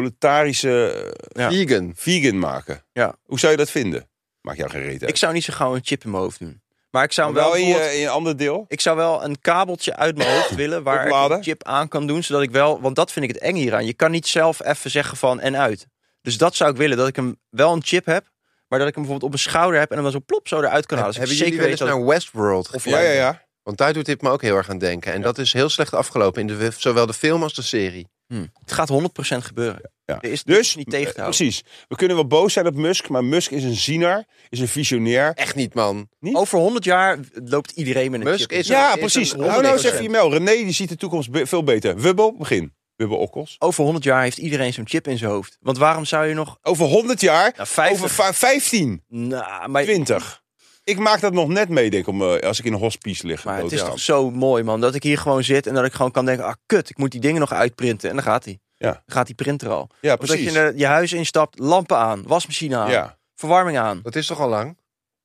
S2: proletarische eh,
S3: Ja.
S4: Vegan.
S2: vegan maken.
S3: Ja.
S2: Hoe zou je dat vinden? Maakt jou geen reet uit.
S3: Ik zou niet zo gauw een chip in mijn hoofd doen. Maar ik zou
S2: Maar
S3: hem wel,
S2: wel in, je,
S3: bijvoorbeeld-
S2: in een ander deel.
S3: Ik zou wel een kabeltje uit mijn hoofd willen waar ik
S2: Opladen.
S3: een chip aan kan doen, zodat ik wel, want dat vind ik het eng hieraan. Je kan niet zelf even zeggen van en uit. Dus dat zou ik willen, dat ik hem wel een chip heb, maar dat ik hem bijvoorbeeld op mijn schouder heb en hem dan zo plop zo eruit kan halen. Dus ik
S4: Hebben jullie
S3: zeker
S4: wel eens
S3: weet dat
S4: naar Westworld gekeken?
S2: Ja, ja, ja.
S4: Want daar doet dit me ook heel erg aan denken. En dat is heel slecht afgelopen in de, zowel de film als de serie.
S3: het gaat 100% gebeuren.
S2: ja.
S3: Er is
S2: Dus,
S3: niet tegen te
S2: eh,
S3: houden.
S2: precies. We kunnen wel boos zijn op Musk, maar Musk is een ziener, is een visionair.
S4: Echt niet, man.
S2: niet.
S3: Over 100 jaar loopt iedereen met een
S4: Musk
S3: chip.
S4: is-
S2: ja,
S4: een-
S2: precies.
S4: een
S2: Hou nou eens even
S4: 100%.
S2: je mail. René, die ziet de toekomst be- veel beter. Wubbel, begin. Wubbel Okkels.
S3: Over 100 jaar heeft iedereen zo'n chip in zijn hoofd. Want waarom zou je nog...
S2: Over 100 jaar,
S3: Nou, 50.
S2: over va- 15,
S3: Nou, maar,
S2: 20. Ik maak dat nog net mee, denk ik, om, eh, als ik in een hospice lig.
S3: maar het is
S2: doodgaan.
S3: toch zo mooi, man. Dat ik hier gewoon zit en dat ik gewoon kan denken... Ah, kut, ik moet die dingen nog uitprinten. En dan gaat hij.
S2: Ja.
S3: Dan gaat die printer al.
S2: ja,
S3: Of dat
S2: precies.
S3: je naar je huis instapt, lampen aan, wasmachine aan,
S2: ja.
S3: verwarming aan.
S4: Dat is toch al lang?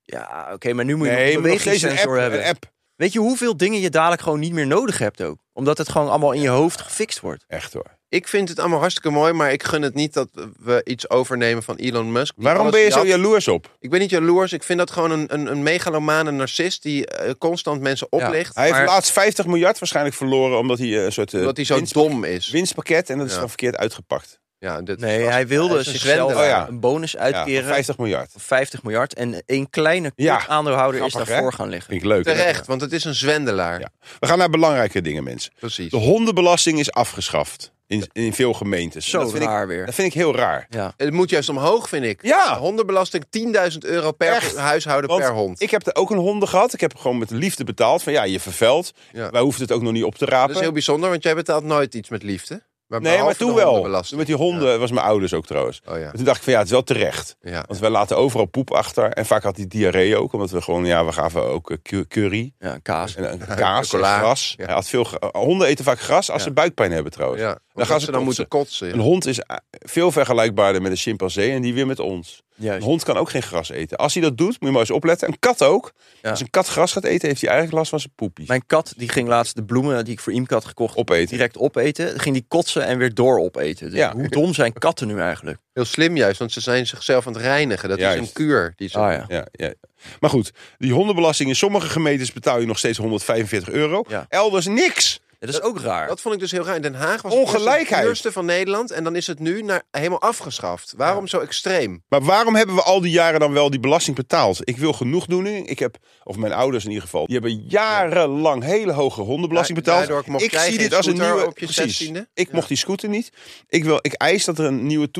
S3: Ja, oké, maar nu moet je
S2: Nee,
S3: nog
S2: maar
S3: een
S2: nog steeds een app,
S3: bewegingssensor hebben.
S2: een app.
S3: Weet je hoeveel dingen je dadelijk gewoon niet meer nodig hebt ook? Omdat het gewoon allemaal in je hoofd gefixt wordt.
S2: Echt hoor.
S4: Ik vind het allemaal hartstikke mooi, maar ik gun het niet dat we iets overnemen van Elon Musk. Die
S2: Waarom
S4: alles
S2: ben je zo
S4: jat.
S2: jaloers op?
S4: Ik ben niet jaloers. Ik vind dat gewoon een, een, een megalomane narcist die eh, constant mensen
S3: Ja.
S4: oplicht.
S2: Hij heeft
S3: Maar-
S2: laatst 50 miljard waarschijnlijk verloren omdat hij eh, een soort eh,
S4: Omdat hij zo
S2: winst-
S4: dom is.
S2: winstpakket en dat is
S4: Ja.
S2: dan verkeerd uitgepakt.
S4: Ja, dit
S3: Nee,
S4: was-
S3: hij wilde
S4: hij is een
S3: zichzelf
S4: zwendelaar.
S2: Oh ja.
S3: een bonus
S2: Ja,
S3: uitkeren van
S2: 50 miljard.
S3: 50 miljard. En één kleine
S2: Ja,
S3: kort aandeelhouder is
S2: grappig,
S3: daarvoor
S2: hè?
S3: gaan liggen.
S2: Vind ik leuk. hè?
S4: Terecht, want het is een zwendelaar.
S2: Ja. We gaan naar belangrijke dingen, mensen.
S4: Precies.
S2: De hondenbelasting is afgeschaft in, in veel gemeentes.
S3: Zo
S2: dat vind
S3: raar
S2: ik,
S3: weer.
S2: Dat vind ik heel raar.
S3: Ja.
S4: Het moet juist omhoog, vind ik.
S2: Ja.
S4: Hondenbelasting 10.000 euro per
S2: Echt?
S4: huishouden
S2: Want
S4: per hond.
S2: ik heb er ook een honden gehad. Ik heb gewoon met liefde betaald. Van ja, je vervelt.
S4: Ja.
S2: Wij hoefden het ook nog niet op te rapen.
S4: Dat is heel bijzonder, want jij betaalt nooit iets met liefde. Maar
S2: nee, maar
S4: behalve
S2: toen
S4: de
S2: wel.
S4: hondenbelasting.
S2: Met die honden was mijn ouders ook trouwens.
S4: Oh ja.
S2: Maar Toen dacht ik van ja, het is wel terecht.
S4: Ja.
S2: Want wij laten overal poep achter. En vaak had hij diarree ook. Omdat we gewoon, ja, we gaven ook eh, cu- curry.
S3: ja, kaas.
S2: En eh, kaas en
S4: Chocola.
S2: gras.
S4: Ja.
S2: Hij had veel, gra- eh, honden eten vaak gras als
S4: Ja.
S2: ze buikpijn hebben trouwens.
S4: Ja,
S2: Dan gaan ze kotsen.
S4: dan moeten kotsen. ja.
S2: Een hond is eh, veel vergelijkbaarder met een chimpansee en die weer met ons. Een
S3: Juist.
S2: hond kan ook geen gras eten. Als hij dat doet, moet je maar eens opletten. Een kat ook.
S3: Ja.
S2: Als een kat gras gaat eten, heeft hij eigenlijk last van zijn poepie.
S3: Mijn kat die ging laatst de bloemen die ik voor Imke had gekocht
S2: Opeten.
S3: direct opeten. Ging die kotsen en weer door opeten. Dus
S2: Ja.
S3: Hoe dom zijn katten nu eigenlijk?
S4: Heel slim juist, want ze zijn zichzelf aan het reinigen. Dat
S2: Juist.
S4: is een kuur. Die ze...
S3: Ah ja.
S2: Ja, ja. Maar goed, die hondenbelasting in sommige gemeentes betaal je nog steeds 145 euro.
S3: Ja.
S2: Elders niks.
S3: Dat is ook raar.
S4: Dat vond ik dus heel raar. In Den Haag was het
S2: Ongelijkheid.
S4: de duurste van Nederland. En dan is het nu naar, helemaal afgeschaft. Waarom zo extreem?
S2: Maar waarom hebben we al die jaren dan wel die belasting betaald? Ik wil genoegdoening. Ik heb, of mijn ouders in ieder geval, die hebben jarenlang hele hoge hondenbelasting
S4: Ja,
S2: betaald.
S4: daardoor mocht
S2: ik
S4: jij
S2: zie
S4: geen
S2: dit als een
S4: scooter
S2: nieuwe.
S4: op je
S2: precies.
S4: 16e?
S2: Ik mocht die scooter niet. Ik, wil, ik eis dat er een nieuwe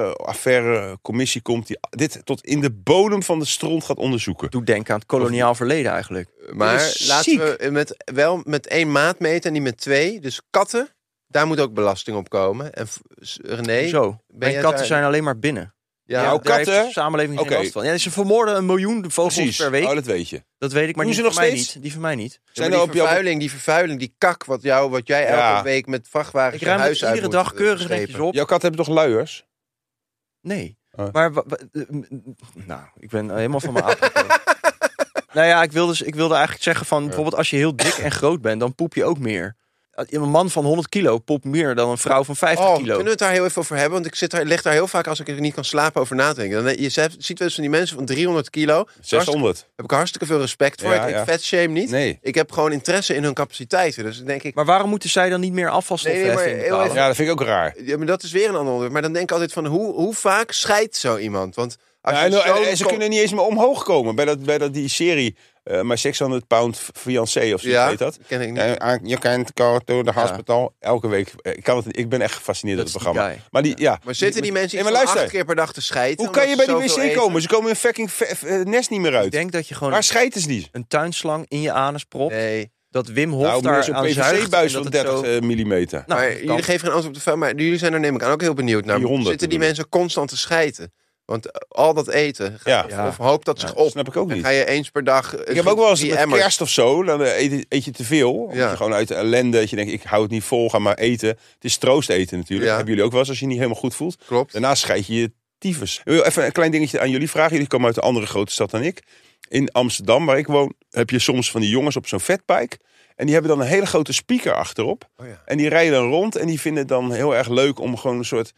S2: toeslagenaffaire commissie komt die dit tot in de bodem van de stront gaat onderzoeken.
S3: doet denken aan het koloniaal verleden eigenlijk.
S2: Eh,
S4: Maar
S2: is
S4: laten
S2: ziek.
S4: we met, wel met één maat meten en niet met twee. Dus katten, daar moet ook belasting op komen. En v- s- René...
S3: Zo. Mijn
S4: jij
S3: katten
S4: daar-
S3: zijn alleen maar binnen.
S4: Ja,
S3: daar
S2: ook katten?
S3: heeft de samenleving geen
S2: Oké.
S3: last van. Ja, ze vermoorden een miljoen vogels per week.
S2: Oh, dat weet je.
S3: Dat weet ik, maar
S2: Doen
S3: die
S2: ze
S3: van,
S2: nog
S3: mij
S2: steeds?
S3: niet. die van mij niet.
S4: zijn
S2: Zijn er op
S4: die
S2: jouw
S4: vervuiling, die vervuiling, die kak wat, jou, wat jij
S2: Ja.
S4: elke week met vrachtwagens
S3: Ik
S4: je
S3: ruim het
S4: huis uit
S3: iedere
S4: moet,
S3: dag
S4: eh,
S3: keurig
S4: schepen.
S3: netjes op.
S2: Jouw kat hebben toch luiers?
S3: Nee.
S2: Oh.
S3: Maar, wa- wa- eh, m- m- nou, ik ben helemaal van mijn aap. gekomen. dus, nou ja, ik wilde, ik wilde eigenlijk zeggen van, bijvoorbeeld als je heel dik en groot bent, dan poep je ook meer. Een man van 100 kilo popt meer dan een vrouw van 50
S4: Oh,
S3: kilo.
S4: kunnen we het daar heel even over hebben? Want ik zit daar, leg daar heel vaak, als ik er niet kan slapen, over na te denken. Dan, eh, je zet- ziet wel eens van die mensen van 300 kilo. Hartstikke-
S2: 600.
S4: Heb ik hartstikke veel respect voor.
S2: Ja,
S4: ik
S2: ja.
S4: ik vetshame niet.
S2: Nee.
S4: Ik heb gewoon interesse in hun capaciteiten. Dus dan denk ik,
S3: Maar waarom moeten zij dan niet meer afvalstoffen
S4: Nee, maar heel
S3: bepalen?
S4: even-
S2: Ja, dat vind ik ook raar.
S4: ja, maar dat is weer een ander onderwerp. Maar dan denk ik altijd van, hoe, hoe vaak scheidt zo iemand? Want als
S2: Ja,
S4: je
S2: en,
S4: zo
S2: en- en ze
S4: ko-
S2: kunnen niet eens meer omhoog komen bij, dat, bij dat, die serie. eh maar 600 pound f- fiancé of zo
S4: Ja,
S2: heet dat.
S4: ken ik niet.
S2: Eh, aan- je kent Carl door de hospital. Elke week. eh, Ik, kan het, ik ben echt gefascineerd door
S3: Dat
S2: het
S3: is die
S2: programma.
S3: guy.
S2: Maar, die, ja.
S4: Maar zitten die mensen
S2: Nee,
S4: iets
S2: maar
S4: van
S2: luister.
S4: acht keer per dag te scheiden?
S2: Hoe kan je bij
S4: omdat
S2: die
S4: ze
S2: wc
S4: zoveel
S2: komen?
S4: eten?
S2: Ze komen in fucking ve- eh, nest niet meer
S3: Ik
S2: uit.
S3: denk dat je gewoon
S2: Waar schijten ze die?
S3: een tuinslang in je anus propt.
S4: Nee.
S3: Dat Wim Hof
S2: Nou, meer
S3: daar
S2: zo'n
S3: aan zuigt. en
S2: PVC-buis van eh,
S3: dat het
S2: 30
S3: zo...
S2: millimeter.
S3: Nou,
S4: maar
S3: dat
S4: jullie
S3: kan.
S4: geven geen antwoord op de vraag, maar jullie zijn er neem ik aan ook heel benieuwd naar.
S2: 300
S4: Zitten die
S2: bedoel
S4: mensen constant te scheiten? Want eh, al dat eten, ga-
S2: Ja.
S4: of-
S3: Ja.
S4: of hoopt dat zich Nou, op.
S2: snap ik ook
S4: Dan
S2: niet.
S4: ga je eens per dag...
S2: Ik heb ook wel eens
S4: die
S2: met
S4: emmers.
S2: kerst of zo, dan eh, eet, je- eet je te veel. Omdat
S4: Ja.
S2: je gewoon uit de ellende, dat je denkt, ik hou het niet vol, ga maar eten. Het is troost eten natuurlijk.
S4: Ja.
S2: Dat hebben jullie ook wel eens als je niet helemaal goed voelt.
S4: Klopt.
S2: Daarna scheid je je tyfus. Ik wil Even een klein dingetje aan jullie vragen. Jullie komen uit een andere grote stad dan ik. In Amsterdam, waar ik woon, heb je soms van die jongens op zo'n vetbike. En die hebben dan een hele grote speaker achterop.
S4: Oh ja.
S2: En die rijden dan rond en die vinden het dan heel erg leuk om gewoon een soort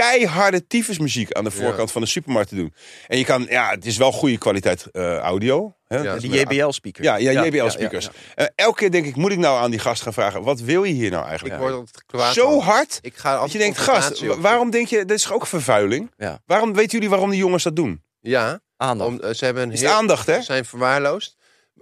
S2: keiharde tyfusmuziek aan de voorkant van de supermarkt te doen. En je kan, ja, het is wel goede kwaliteit eh, audio. Hè?
S4: Ja,
S2: Dat is
S3: Die
S2: met-
S3: JBL-speaker.
S2: ja, ja, JBL-speakers. Eh, elke keer denk ik, moet ik nou aan die gast gaan vragen... wat wil je hier nou
S4: Ik
S2: eigenlijk?
S4: word altijd kwaad.
S2: Zo
S4: van.
S2: hard,
S4: Ik ga
S2: dat
S4: altijd
S2: je denkt, gast,
S4: confrontatie
S2: wa-
S4: op.
S2: waarom denk je... dit is ook vervuiling.
S3: Ja.
S2: Waarom weten jullie waarom die jongens dat doen?
S4: Ja,
S3: Aandacht. Oh
S4: om, eh, ze hebben een
S2: Is
S4: heel-
S2: het aandacht, hè?
S4: Ze zijn verwaarloosd.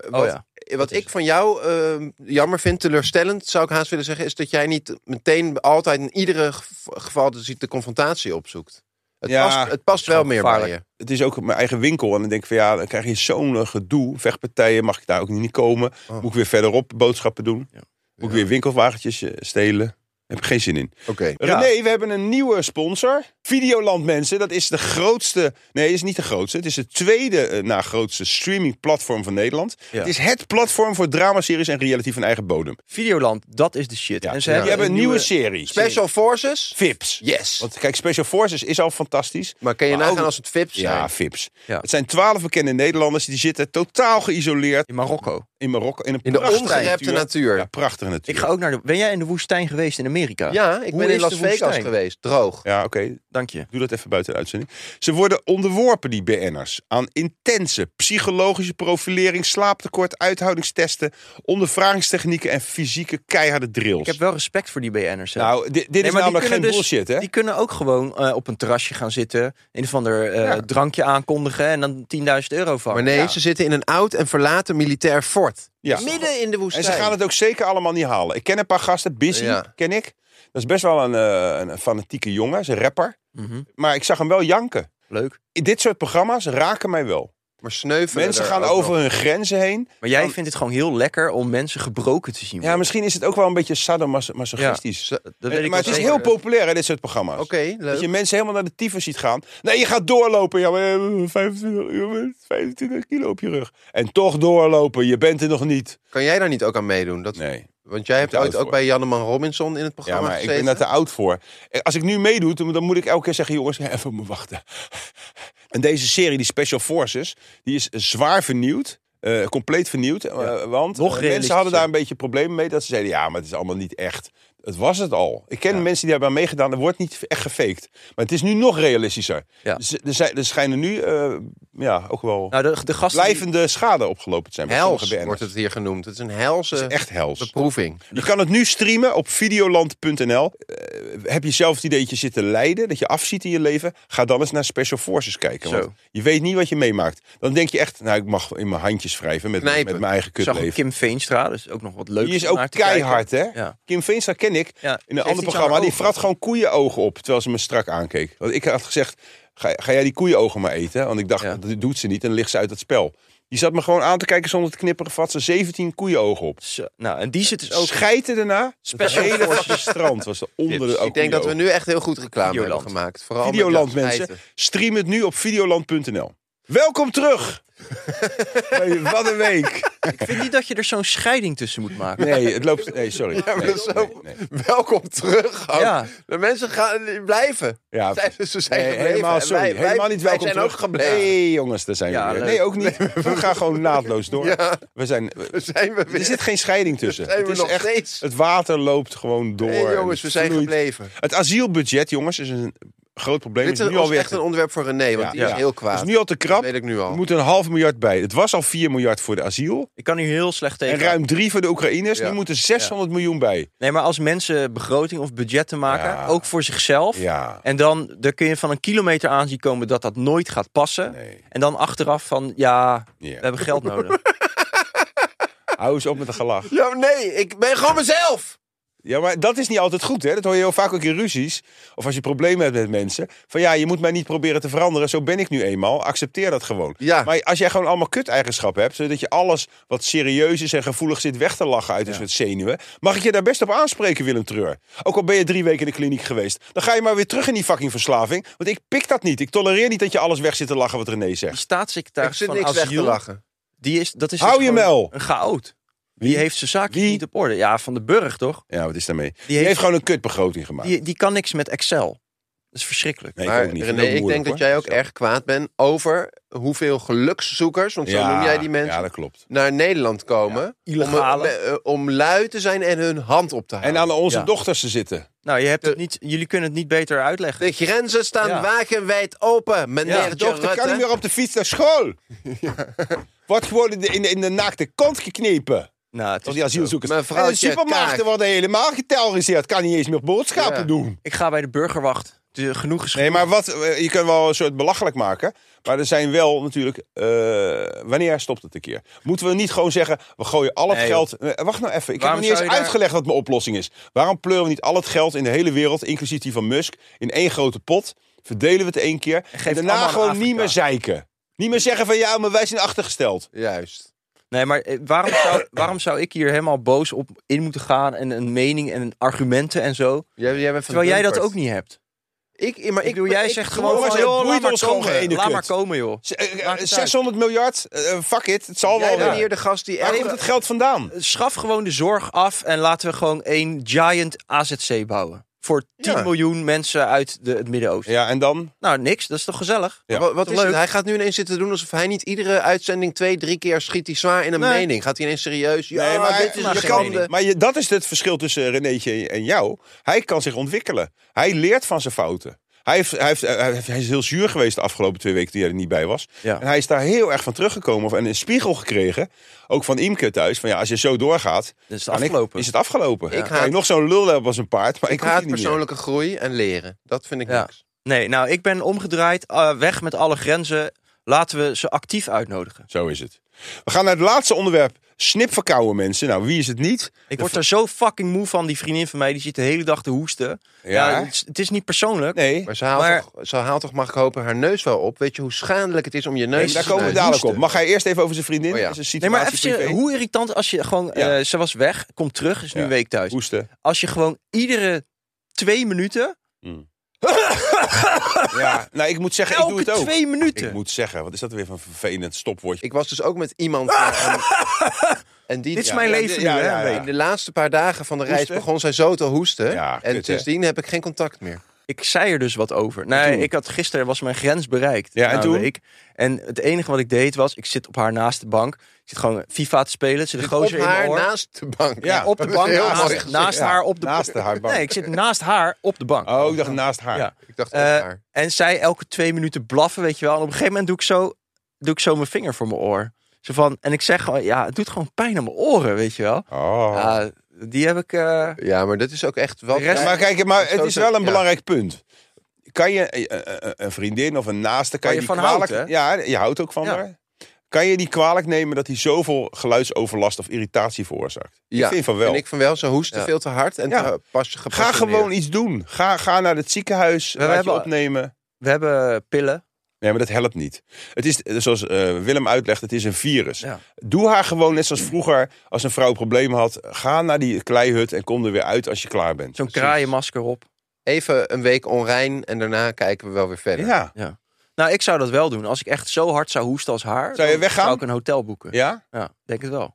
S4: Wat,
S3: ja,
S4: wat ik van jou ehm, jammer vind, teleurstellend zou ik haast willen zeggen, is dat jij niet meteen altijd in iedere gev- geval dus de confrontatie opzoekt. Het
S2: Ja,
S4: past, het past wel meer bij je.
S2: Het is ook mijn eigen winkel. En dan denk ik van, ja, dan krijg je zo'n eh, gedoe. Vechtpartijen, mag ik daar ook niet komen?
S4: Oh.
S2: Moet ik weer verderop boodschappen doen?
S3: Ja.
S2: Moet ik weer winkelwagentjes eh, stelen? Heb ik geen zin in.
S4: Oké.
S3: Ja.
S2: René, we hebben een nieuwe sponsor. Videoland, mensen. Dat is de grootste. Nee, het is niet de grootste. Het is de tweede eh, na grootste streamingplatform van Nederland.
S3: Ja.
S2: Het is het platform voor dramaseries en reality van eigen bodem.
S3: Videoland, dat is de shit.
S2: Ja.
S3: En ze
S2: Die
S3: hebben,
S2: hebben een nieuwe, serie.
S4: Special Forces?
S2: Vips.
S4: Yes.
S2: Want kijk, Special Forces is al fantastisch.
S4: maar kan je
S2: Maar
S4: nagaan
S2: ook-
S4: als het VIPs zijn?
S2: Ja, Vips.
S3: Ja.
S2: Het zijn twaalf bekende Nederlanders die zitten totaal geïsoleerd
S3: in Marokko.
S2: in Marokko. In, een
S4: In de
S2: prachtige
S4: ongerepte natuur.
S2: Ja, prachtige natuur.
S3: Ik ga ook naar de... Ben jij in de woestijn geweest in Amerika?
S4: Ja, ik
S3: Hoe
S4: ben in
S3: is de
S4: Las Vegas
S3: woestijn?
S4: geweest. Droog.
S2: Ja, oké.
S3: Dank je.
S2: Doe dat even buiten de uitzending. Ze worden onderworpen, die BN'ers, aan intense psychologische profilering, slaaptekort, uithoudingstesten, ondervragingstechnieken en fysieke keiharde drills.
S3: Ik heb wel respect voor die BN'ers. hè.
S2: Nou, di- dit,
S3: Nee,
S2: is
S3: maar die
S2: namelijk geen
S3: kunnen dus-
S2: bullshit, hè?
S3: Die kunnen ook gewoon eh, op een terrasje gaan zitten. Een of ander eh,
S2: Ja.
S3: drankje aankondigen en dan 10.000 euro van.
S4: Maar nee, ze zitten in een oud en verlaten militair fort.
S2: Ja.
S4: Midden in de
S2: En
S4: woestijn.
S2: ze gaan het ook zeker allemaal niet halen. Ik ken een paar gasten, Busy
S4: Ja.
S2: ken ik. Dat is best wel een, eh, een fanatieke jongen, is een rapper.
S3: Mhm.
S2: Maar ik zag hem wel janken.
S3: Leuk.
S2: Dit soort programma's raken mij wel.
S4: Maar sneuvelen
S2: Mensen
S4: er
S2: gaan
S4: ook
S2: over
S4: nog.
S2: hun grenzen heen.
S3: Maar jij vindt het gewoon heel lekker om mensen gebroken te zien
S2: Ja,
S3: worden.
S2: misschien is het ook wel een beetje sadomasochistisch.
S4: Ze-
S3: Dat weet ik
S2: Eh, maar het
S3: wel
S2: is
S3: zeker. eh,
S2: heel populair, hè, dit soort programma's.
S4: Oké, leuk.
S2: Dat je mensen helemaal naar de tyfus ziet gaan. Nee, je gaat doorlopen. Ja, maar, eh, 25, uur, 25 kilo op je rug. En toch doorlopen. Je bent er nog niet.
S4: Kan jij daar niet ook aan meedoen? Dat,
S2: Nee.
S4: Want jij hebt
S2: te
S4: ooit
S2: oud
S4: ook
S2: voor.
S4: bij Janneman Robinson in het
S2: Ja,
S4: programma
S2: maar ik
S4: gezeten.
S2: ben daar te oud voor. Eh, Als ik nu meedoe, dan dan moet ik elke keer zeggen... jongens, even op me wachten. En deze serie, die Special Forces... die is zwaar vernieuwd. eh, compleet vernieuwd. eh, want
S3: nog
S2: eh, mensen
S3: realistischer.
S2: hadden daar een beetje problemen mee. Dat ze zeiden, ja, maar het is allemaal niet echt. Het was het al. Ik ken mensen die hebben aan meegedaan. Er wordt niet echt gefaked. Maar het is nu nog realistischer.
S3: Ja.
S2: Dus Er, zijn, er schijnen nu eh, ja, ook wel...
S3: Nou, de, de gasten die-
S2: blijvende schade opgelopen te zijn. bij
S4: Hels
S2: sommige
S4: wordt
S2: BN'ers.
S3: eh,
S4: het hier genoemd. Het is een helse
S2: Het is echt hels.
S4: beproeving.
S2: Je kan het nu streamen op videoland.nl. Eh, heb je zelf het idee dat je zit te lijden, dat je afziet in je leven? Ga dan eens naar Special Forces kijken.
S3: Zo.
S2: Want je weet niet wat je meemaakt. Dan denk je echt, nou ik mag in mijn handjes wrijven met, met
S4: Knijpen.
S2: mijn eigen
S3: Ik zag ook
S2: kutleven.
S3: Kim Veenstra, dus ook nog wat leuk.
S2: Die is ook keihard, hè?
S3: Ja.
S2: Kim Veenstra ken ik
S3: Ja, ze
S2: in een
S3: heeft
S2: ander
S3: iets aan
S2: programma.
S3: haar
S2: Die
S3: ogen.
S2: vrat gewoon koeienogen op, terwijl ze me strak aankeek. Want ik had gezegd, ga, ga jij die koeienogen maar eten? Want ik dacht,
S3: Ja.
S2: dat doet ze niet en dan ligt ze uit het spel. Die zat me gewoon aan te kijken zonder te knipperen. Vat ze 17 koeienogen op.
S3: Zo, nou, en die zit dus ook.
S2: Ook schijten daarna.
S3: Special
S2: het hele
S3: forces.
S2: vaste strand was er onder de
S3: Tips.
S2: ook
S4: Ik denk dat we nu echt heel goed reclame
S3: Videoland.
S4: hebben gemaakt. Vooral met
S2: Videoland
S4: dat
S2: mensen.
S4: schijten.
S2: Stream het nu op videoland.nl. Welkom terug! Bij Wat een week!
S3: Ik vind niet dat je er zo'n scheiding tussen moet maken.
S2: Nee, het loopt... Nee, sorry.
S4: Ja, maar
S2: Nee,
S4: dat is
S2: nee,
S4: zo-
S2: nee.
S4: Welkom terug. ook.
S3: Ja.
S4: De mensen gaan die blijven.
S2: Ja.
S4: Zij- ze
S2: Nee,
S4: zijn gebleven.
S2: helemaal,
S4: En
S2: sorry,
S4: wij- wij-
S2: helemaal niet welkom
S4: wij zijn
S2: terug.
S4: ook gebleven.
S2: Nee, jongens, daar zijn
S3: Ja,
S2: we weer.
S3: leuk.
S2: Nee, ook niet. We gaan gewoon naadloos door.
S4: Ja.
S2: We zijn,
S4: Daar zijn we weer.
S2: er zit geen scheiding tussen.
S4: zijn we
S2: het, is
S4: nog
S2: echt,
S4: steeds.
S2: het water loopt gewoon door.
S4: Nee,
S2: en
S4: jongens, we
S2: het
S4: zijn
S2: vloeit.
S4: gebleven.
S2: Het asielbudget, jongens, is een groot probleem.
S4: Dit
S2: is
S4: is
S2: nu alweer
S4: echt een onderwerp voor René, want
S2: Ja,
S4: die
S2: ja.
S4: is heel kwaad.
S2: is nu al te krap.
S4: Dat weet ik nu al.
S2: Er moet een half miljard bij. Het was al 4 miljard voor de asiel.
S3: Ik kan hier heel slecht tegen.
S2: En ruim 3 voor de Oekraïners.
S4: Ja.
S2: Nu moeten 600 miljoen bij.
S3: Nee, maar als mensen begroting of budgetten maken,
S2: Ja.
S3: ook voor zichzelf.
S2: Ja.
S3: En dan daar kun je van een kilometer aan zien komen dat dat nooit gaat passen.
S2: Nee.
S3: En dan achteraf van, ja,
S2: Ja.
S3: we hebben geld nodig.
S2: Hou eens op met een gelach.
S4: Ja, maar nee, ik ben gewoon mezelf.
S2: Ja, maar dat is niet altijd goed, hè? Dat hoor je heel vaak ook in ruzies. Of als je problemen hebt met mensen. Van ja, je moet mij niet proberen te veranderen. Zo ben ik nu eenmaal. Accepteer dat gewoon.
S4: Ja.
S2: Maar als jij gewoon allemaal kut-eigenschappen hebt... zodat je alles wat serieus is en gevoelig zit weg te lachen uit een soort zenuwen... mag ik je daar best op aanspreken, Willem Treur. Ook al ben je drie weken in de kliniek geweest. Dan ga je maar weer terug in die fucking verslaving. Want ik pik dat niet. Ik tolereer niet dat je alles weg zit te lachen wat René
S3: Die
S2: zegt.
S4: Er
S3: staatssecretaris
S4: zit
S3: van
S4: niks weg te
S3: asiel,
S4: lachen.
S3: die is, dat is
S2: Hou
S3: dus
S2: je
S3: gewoon
S2: mel.
S3: een chaot. Die heeft zijn zaakjes
S2: Wie?
S3: niet op orde. Ja, Van de Burg toch?
S2: Ja, wat is daarmee? Die,
S3: heeft-
S2: heeft... gewoon een kutbegroting gemaakt.
S3: Die, die kan niks met Excel. Dat is verschrikkelijk.
S2: Nee,
S4: maar
S2: ik ook niet.
S4: René,
S2: Vind
S4: ik
S2: moeilijk,
S4: denk dat
S2: hoor.
S4: jij ook
S2: Zo.
S4: erg kwaad bent over hoeveel gelukszoekers, want zo
S2: Ja,
S4: noem jij die mensen,
S2: Ja, dat klopt.
S4: naar Nederland komen om,
S3: illegale.
S4: eh, om lui te zijn en hun hand op te
S2: En
S4: houden.
S2: aan onze
S3: Ja.
S2: dochters te zitten.
S3: Nou, je hebt het niet, jullie kunnen het niet beter uitleggen.
S4: De grenzen staan
S3: Ja.
S4: wagenwijd open, meneer
S2: De
S4: ja,
S2: dochter kan niet meer op de fiets naar school. Wordt gewoon in de, in de, in de naakte kont geknepen.
S3: Nou,
S2: Door
S3: het is
S2: die
S3: niet zo.
S2: asielzoekers. En de
S4: Mevrouwtje
S2: supermarkten
S4: Kaag.
S2: worden helemaal geterroriseerd. Kan niet eens meer boodschappen
S4: Ja.
S2: doen.
S3: Ik ga bij de burgerwacht. Het is genoeg geschreven.
S2: Nee, maar wat, eh, je kunt wel een soort belachelijk maken. Maar er zijn wel natuurlijk... eh, wanneer stopt het een keer? Moeten we niet gewoon zeggen... We gooien al het
S3: Nee, joh.
S2: geld... Eh, wacht nou even. Ik heb nog
S3: Waarom zou
S2: niet
S3: je
S2: eens
S3: daar-
S2: uitgelegd wat mijn oplossing is. Waarom pleuren we niet al het geld in de hele wereld... inclusief die van Musk... in één grote pot... Verdelen we het één keer. En
S3: het
S2: daarna
S3: allemaal aan
S2: gewoon niet
S3: Afrika.
S2: meer zeiken. Niet meer zeggen van ja, maar wij zijn achtergesteld.
S4: Juist.
S3: Nee, maar eh, waarom zou, waarom zou ik hier helemaal boos op in moeten gaan en een mening en argumenten en zo?
S4: Jij, jij bent van
S3: Terwijl jij dat
S4: Dunkert.
S3: ook niet hebt.
S4: Ik, maar
S3: Ik
S4: ik,
S3: bedoel, jij
S4: ik-
S3: zegt
S4: ik-
S3: gewoon
S2: jongens,
S3: van,
S2: het
S3: joh, laat
S2: boeit
S3: maar
S2: ons gewoon geen
S3: komen.
S2: ene
S3: Laat
S2: kut.
S3: maar komen, joh.
S2: Z- eh, eh,
S3: Maakt het
S2: 600 miljard, eh, eh, fuck it, het zal
S4: Jij
S2: wel
S4: bent
S2: weer.
S4: hier de gast die
S2: Waar
S4: echt...
S2: komt het geld vandaan?
S3: Schaf gewoon de zorg af en laten we gewoon één giant AZC bouwen. Voor 10
S4: Ja.
S3: miljoen mensen uit de, het Midden-Oosten.
S2: Ja, en dan?
S3: Nou, niks. Dat is toch gezellig?
S2: Ja.
S4: Wat, wat is
S3: Leuk.
S4: het? Hij gaat nu ineens zitten doen alsof hij niet iedere uitzending twee, drie keer schiet hij zwaar in een
S3: Nee.
S4: mening. Gaat hij ineens serieus? Ja,
S2: Nee, maar,
S4: dit is dus
S3: maar
S4: je
S3: geen
S4: kan
S3: mening.
S4: de-
S2: maar je, dat is het verschil tussen Renéetje en jou. Hij kan zich ontwikkelen. Hij leert van zijn fouten. Hij, heeft, hij, heeft, hij, heeft- hij is heel zuur geweest de afgelopen twee weken toen jij er niet bij was.
S3: Ja.
S2: En hij is daar heel erg van teruggekomen. Of, en een spiegel gekregen. Ook van Imke thuis. Van ja, als je zo doorgaat,
S3: Dan is het
S2: kan ik-
S3: afgelopen.
S2: is het afgelopen.
S4: Ik
S2: Ik ga
S4: haat-
S2: je nog zo'n lul hebben als een paard. Maar ik,
S4: Ik
S2: hoef
S4: haat
S2: die niet meer.
S4: persoonlijke groei en leren. Dat vind ik
S3: Ja.
S4: niks.
S3: Nee, nou, ik ben omgedraaid. eh, weg met alle grenzen. Laten we ze actief uitnodigen.
S2: Zo is het. We gaan naar het laatste onderwerp. Snip verkouwen mensen. Nou, wie is het niet?
S3: Ik word daar zo fucking moe van. Die vriendin van mij, die zit de hele dag te hoesten. Ja.
S2: Ja.
S3: het, is, het is niet persoonlijk.
S2: Nee.
S4: Maar ze haalt,
S3: Maar-
S4: toch, ze haalt toch, mag ik hopen, haar neus wel op. Weet je hoe schadelijk het is om je neus
S3: Nee,
S4: te
S2: Daar komen we
S4: snijden?
S2: dadelijk op. Mag hij eerst even over zijn vriendin?
S4: Oh ja.
S2: Is een
S3: Nee, maar
S2: situatie
S3: even, serieus,
S2: privé?
S3: hoe irritant als je gewoon...
S2: Ja.
S3: eh, ze was weg, komt terug, is nu
S2: Ja.
S3: een week thuis.
S2: Hoesten.
S3: Als je gewoon iedere twee minuten...
S2: Ja. Nou, ik moet zeggen, ik doe
S3: elke
S2: het ook.
S3: twee minuten!
S2: Ik moet zeggen, wat is dat weer van een vervelend stopwoordje?
S4: Ik was dus ook met iemand... eh, en- en die,
S3: Ah! Dit is
S4: ja.
S3: mijn
S2: ja,
S3: leven
S2: ja,
S3: nu, hè?
S2: ja, ja.
S3: een
S4: In
S3: week.
S4: de laatste paar dagen van de reis
S2: Hoesten?
S4: begon zij zo te hoesten.
S2: Ja, kut,
S4: en
S2: hè?
S4: sindsdien heb ik geen contact meer.
S3: Ik zei er dus wat over. Nee, ik had, gisteren was mijn grens bereikt.
S2: Ja, en
S3: na een
S2: toen?
S3: week. En het enige wat ik deed was, ik zit op haar naast de bank. Ik zit gewoon FIFA te spelen. Er Zit een
S4: Dus Op
S3: gozer in
S4: haar
S3: mijn oor.
S4: naast de bank.
S2: Ja,
S3: op de
S4: Dat is
S3: bank,
S4: heel
S3: naast,
S4: mooi gezegd.
S3: naast
S2: Ja,
S3: haar op de
S2: naast de haar bank.
S3: Nee, ik zit naast haar op de bank.
S2: Oh, ik dacht naast haar.
S3: Ja.
S4: Ik dacht, op
S3: Eh,
S4: haar.
S3: En zij elke twee minuten blaffen, weet je wel. En op een gegeven moment doe ik zo, doe ik zo mijn vinger voor mijn oor. Zo van, en ik zeg gewoon, ja, het doet gewoon pijn aan mijn oren, weet je wel.
S2: Oh.
S3: Ja, die heb ik... eh,
S4: Ja, maar dat is ook echt wel...
S3: De rest-
S2: Ja, maar kijk, maar het
S4: Zo
S2: is
S4: te-
S2: wel een
S4: ja.
S2: belangrijk punt. Kan je eh, eh, eh, een vriendin of een naaste, kan je
S3: Waar je
S2: die
S3: van houdt,
S2: kwalijk... ja, je houdt ook van
S3: Ja.
S2: haar. Kan je die kwalijk nemen dat hij zoveel geluidsoverlast of irritatie veroorzaakt?
S4: Ja,
S2: ik vind van wel.
S4: Vind ik van wel. Ze hoesten
S3: Ja.
S4: veel te hard en
S2: Ja.
S4: te pas je
S2: Ga gewoon iets doen. Ga, ga naar het ziekenhuis, laat je
S3: hebben-
S2: opnemen.
S3: we hebben pillen.
S2: Nee, maar dat helpt niet. Het is, eh, zoals eh, Willem uitlegt, het is een virus.
S3: Ja.
S2: Doe haar gewoon net zoals vroeger, als een vrouw problemen had. Ga naar die kleihut en kom er weer uit als je klaar bent.
S3: Zo'n kraaienmasker op.
S4: Even een week onrein en daarna kijken we wel weer verder.
S2: Ja.
S3: Ja. Nou, ik zou dat wel doen. Als ik echt zo hard zou hoesten als haar,
S2: Zou je
S3: dan
S2: weggaan?
S3: zou ik een hotel boeken. Ja,
S2: Ja?
S3: denk het wel.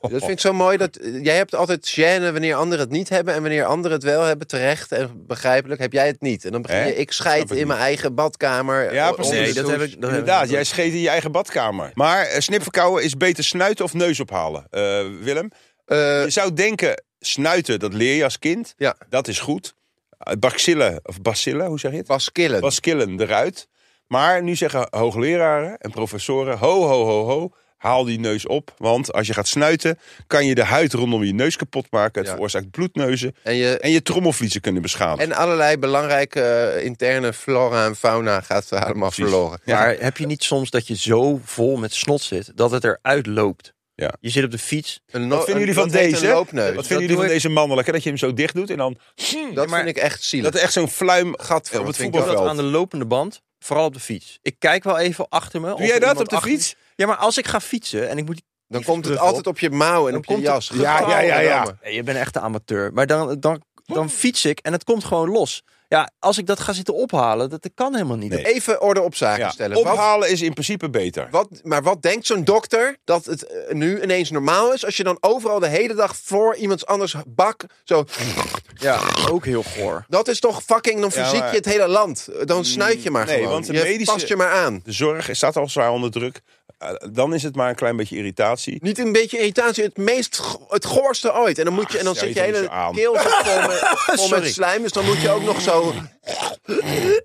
S4: Dat vind ik zo mooi. Dat, eh, jij hebt altijd gêne wanneer anderen het niet hebben. En wanneer anderen het wel hebben, terecht en begrijpelijk, heb jij het niet. En dan begin
S2: Hè?
S4: je, ik
S2: Snap
S4: scheid
S2: ik
S4: in
S2: niet.
S4: mijn eigen badkamer.
S2: Ja,
S4: eh,
S2: precies.
S4: onder
S3: Nee,
S4: de
S3: dat
S4: douche.
S3: heb ik.
S2: dus
S3: Dat heb ik
S2: Inderdaad,
S3: niet.
S2: jij scheet in je eigen badkamer. Maar eh, snipverkouwen is beter snuiten of neus ophalen, eh, Willem.
S4: Eh,
S2: Je zou denken, snuiten, dat leer je als kind.
S4: Ja.
S2: Dat is goed. Eh, Bacillen, of bacillen, hoe zeg je het?
S4: Bas Killen.
S2: Bacillen eruit. Maar nu zeggen hoogleraren en professoren, ho, ho, ho, ho. Haal die neus op, want als je gaat snuiten, kan je de huid rondom je neus kapot maken. Het
S4: Ja.
S2: veroorzaakt bloedneuzen
S4: En, je,
S2: en je trommelvliezen kunnen beschadigen.
S4: en allerlei belangrijke eh, interne flora en fauna gaat eh, allemaal
S2: Precies.
S4: verloren.
S2: Ja.
S3: Maar heb je niet soms dat je zo vol met snot zit dat het eruit loopt?
S2: Ja.
S3: Je zit op de fiets.
S4: Een no-
S2: Wat vinden
S4: een-
S2: jullie van
S4: dat heet
S2: deze?
S4: Een
S2: Wat
S4: loopneus.
S2: vinden
S3: Dat
S2: jullie van
S3: doe ik-
S2: deze mannelijke? Dat je hem zo dicht doet en dan
S4: dat vind ik echt zielig.
S2: dat er echt zo'n fluim
S4: Gat
S2: op het
S4: vind ik
S3: Ik doe dat
S2: voetbalveld.
S3: aan de lopende band, vooral op de fiets. Ik kijk wel even achter me.
S2: Doe jij dat op de fiets?
S3: Ja, maar als ik ga fietsen en ik moet...
S4: Dan
S3: Die
S4: komt het
S3: terug
S4: altijd op je mouw en
S3: Dan
S4: op je
S3: komt het-
S4: jas.
S2: Ja, ja, ja, ja.
S3: Nee, je bent echt een amateur. Maar dan, dan, dan fiets ik en het komt gewoon los. Ja, als ik dat ga zitten ophalen, dat, dat kan helemaal niet.
S2: Nee.
S4: Even orde op zaken
S2: Ja,
S4: stellen. Wat-
S2: Ophalen is in principe beter.
S4: Wat, maar wat denkt zo'n dokter dat het eh, nu ineens normaal is als je dan overal de hele dag voor iemands anders bak zo.
S3: Ja, ook heel goor.
S4: Dat is toch fucking dan
S2: Ja,
S4: verziek
S2: maar- Mm,
S4: je het hele land. Dan snuit je maar
S2: nee,
S4: gewoon.
S2: want de
S4: je
S2: medische-
S4: past je maar aan.
S2: De zorg staat al zwaar onder druk. Eh, dan is het maar een klein beetje irritatie.
S4: Niet een beetje irritatie, het meest go- het goorste ooit. En dan moet je en dan
S2: stel je
S4: zit je
S2: toch
S4: hele
S2: Ah, niet zo aan.
S4: keel zit vol met, vol
S3: Sorry.
S4: met slijm, dus dan moet je ook nog zo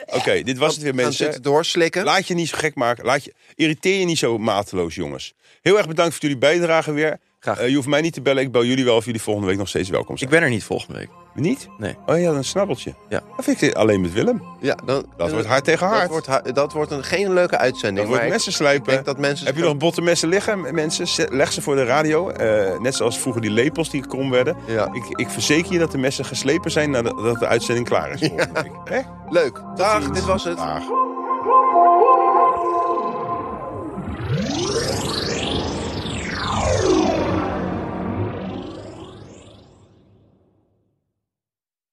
S2: Oké, dit was het weer
S4: gaan zitten
S2: mensen.
S4: doorslikken.
S2: Laat je niet zo gek maken. Laat je, irriteer je niet zo mateloos, jongens. Heel erg bedankt voor jullie bijdrage weer.
S3: Graag.
S2: Eh, je hoeft mij niet te bellen. Ik bel jullie wel of jullie volgende week nog steeds welkom
S3: Ik
S2: zijn.
S3: ben er niet volgende week.
S2: Niet?
S3: Nee.
S2: Oh ja, een snabbeltje.
S3: Ja.
S2: Dat vind ik alleen met Willem.
S4: Ja, dan,
S2: Dat wordt hard tegen hard.
S4: Dat wordt, ha- dat wordt een, geen leuke uitzending.
S2: Dat wordt
S4: maar ik
S2: messen slijpen.
S4: denk dat mensen.
S2: Heb je nog botte messen liggen, m- mensen? Zet- Leg ze voor de radio. Eh, net zoals vroeger die lepels die krom werden.
S4: Ja.
S2: Ik, ik verzeker je dat de messen geslepen zijn nadat de uitzending klaar is. volgende week. Hè?
S4: Leuk. Dag, dit was het.
S2: Dag.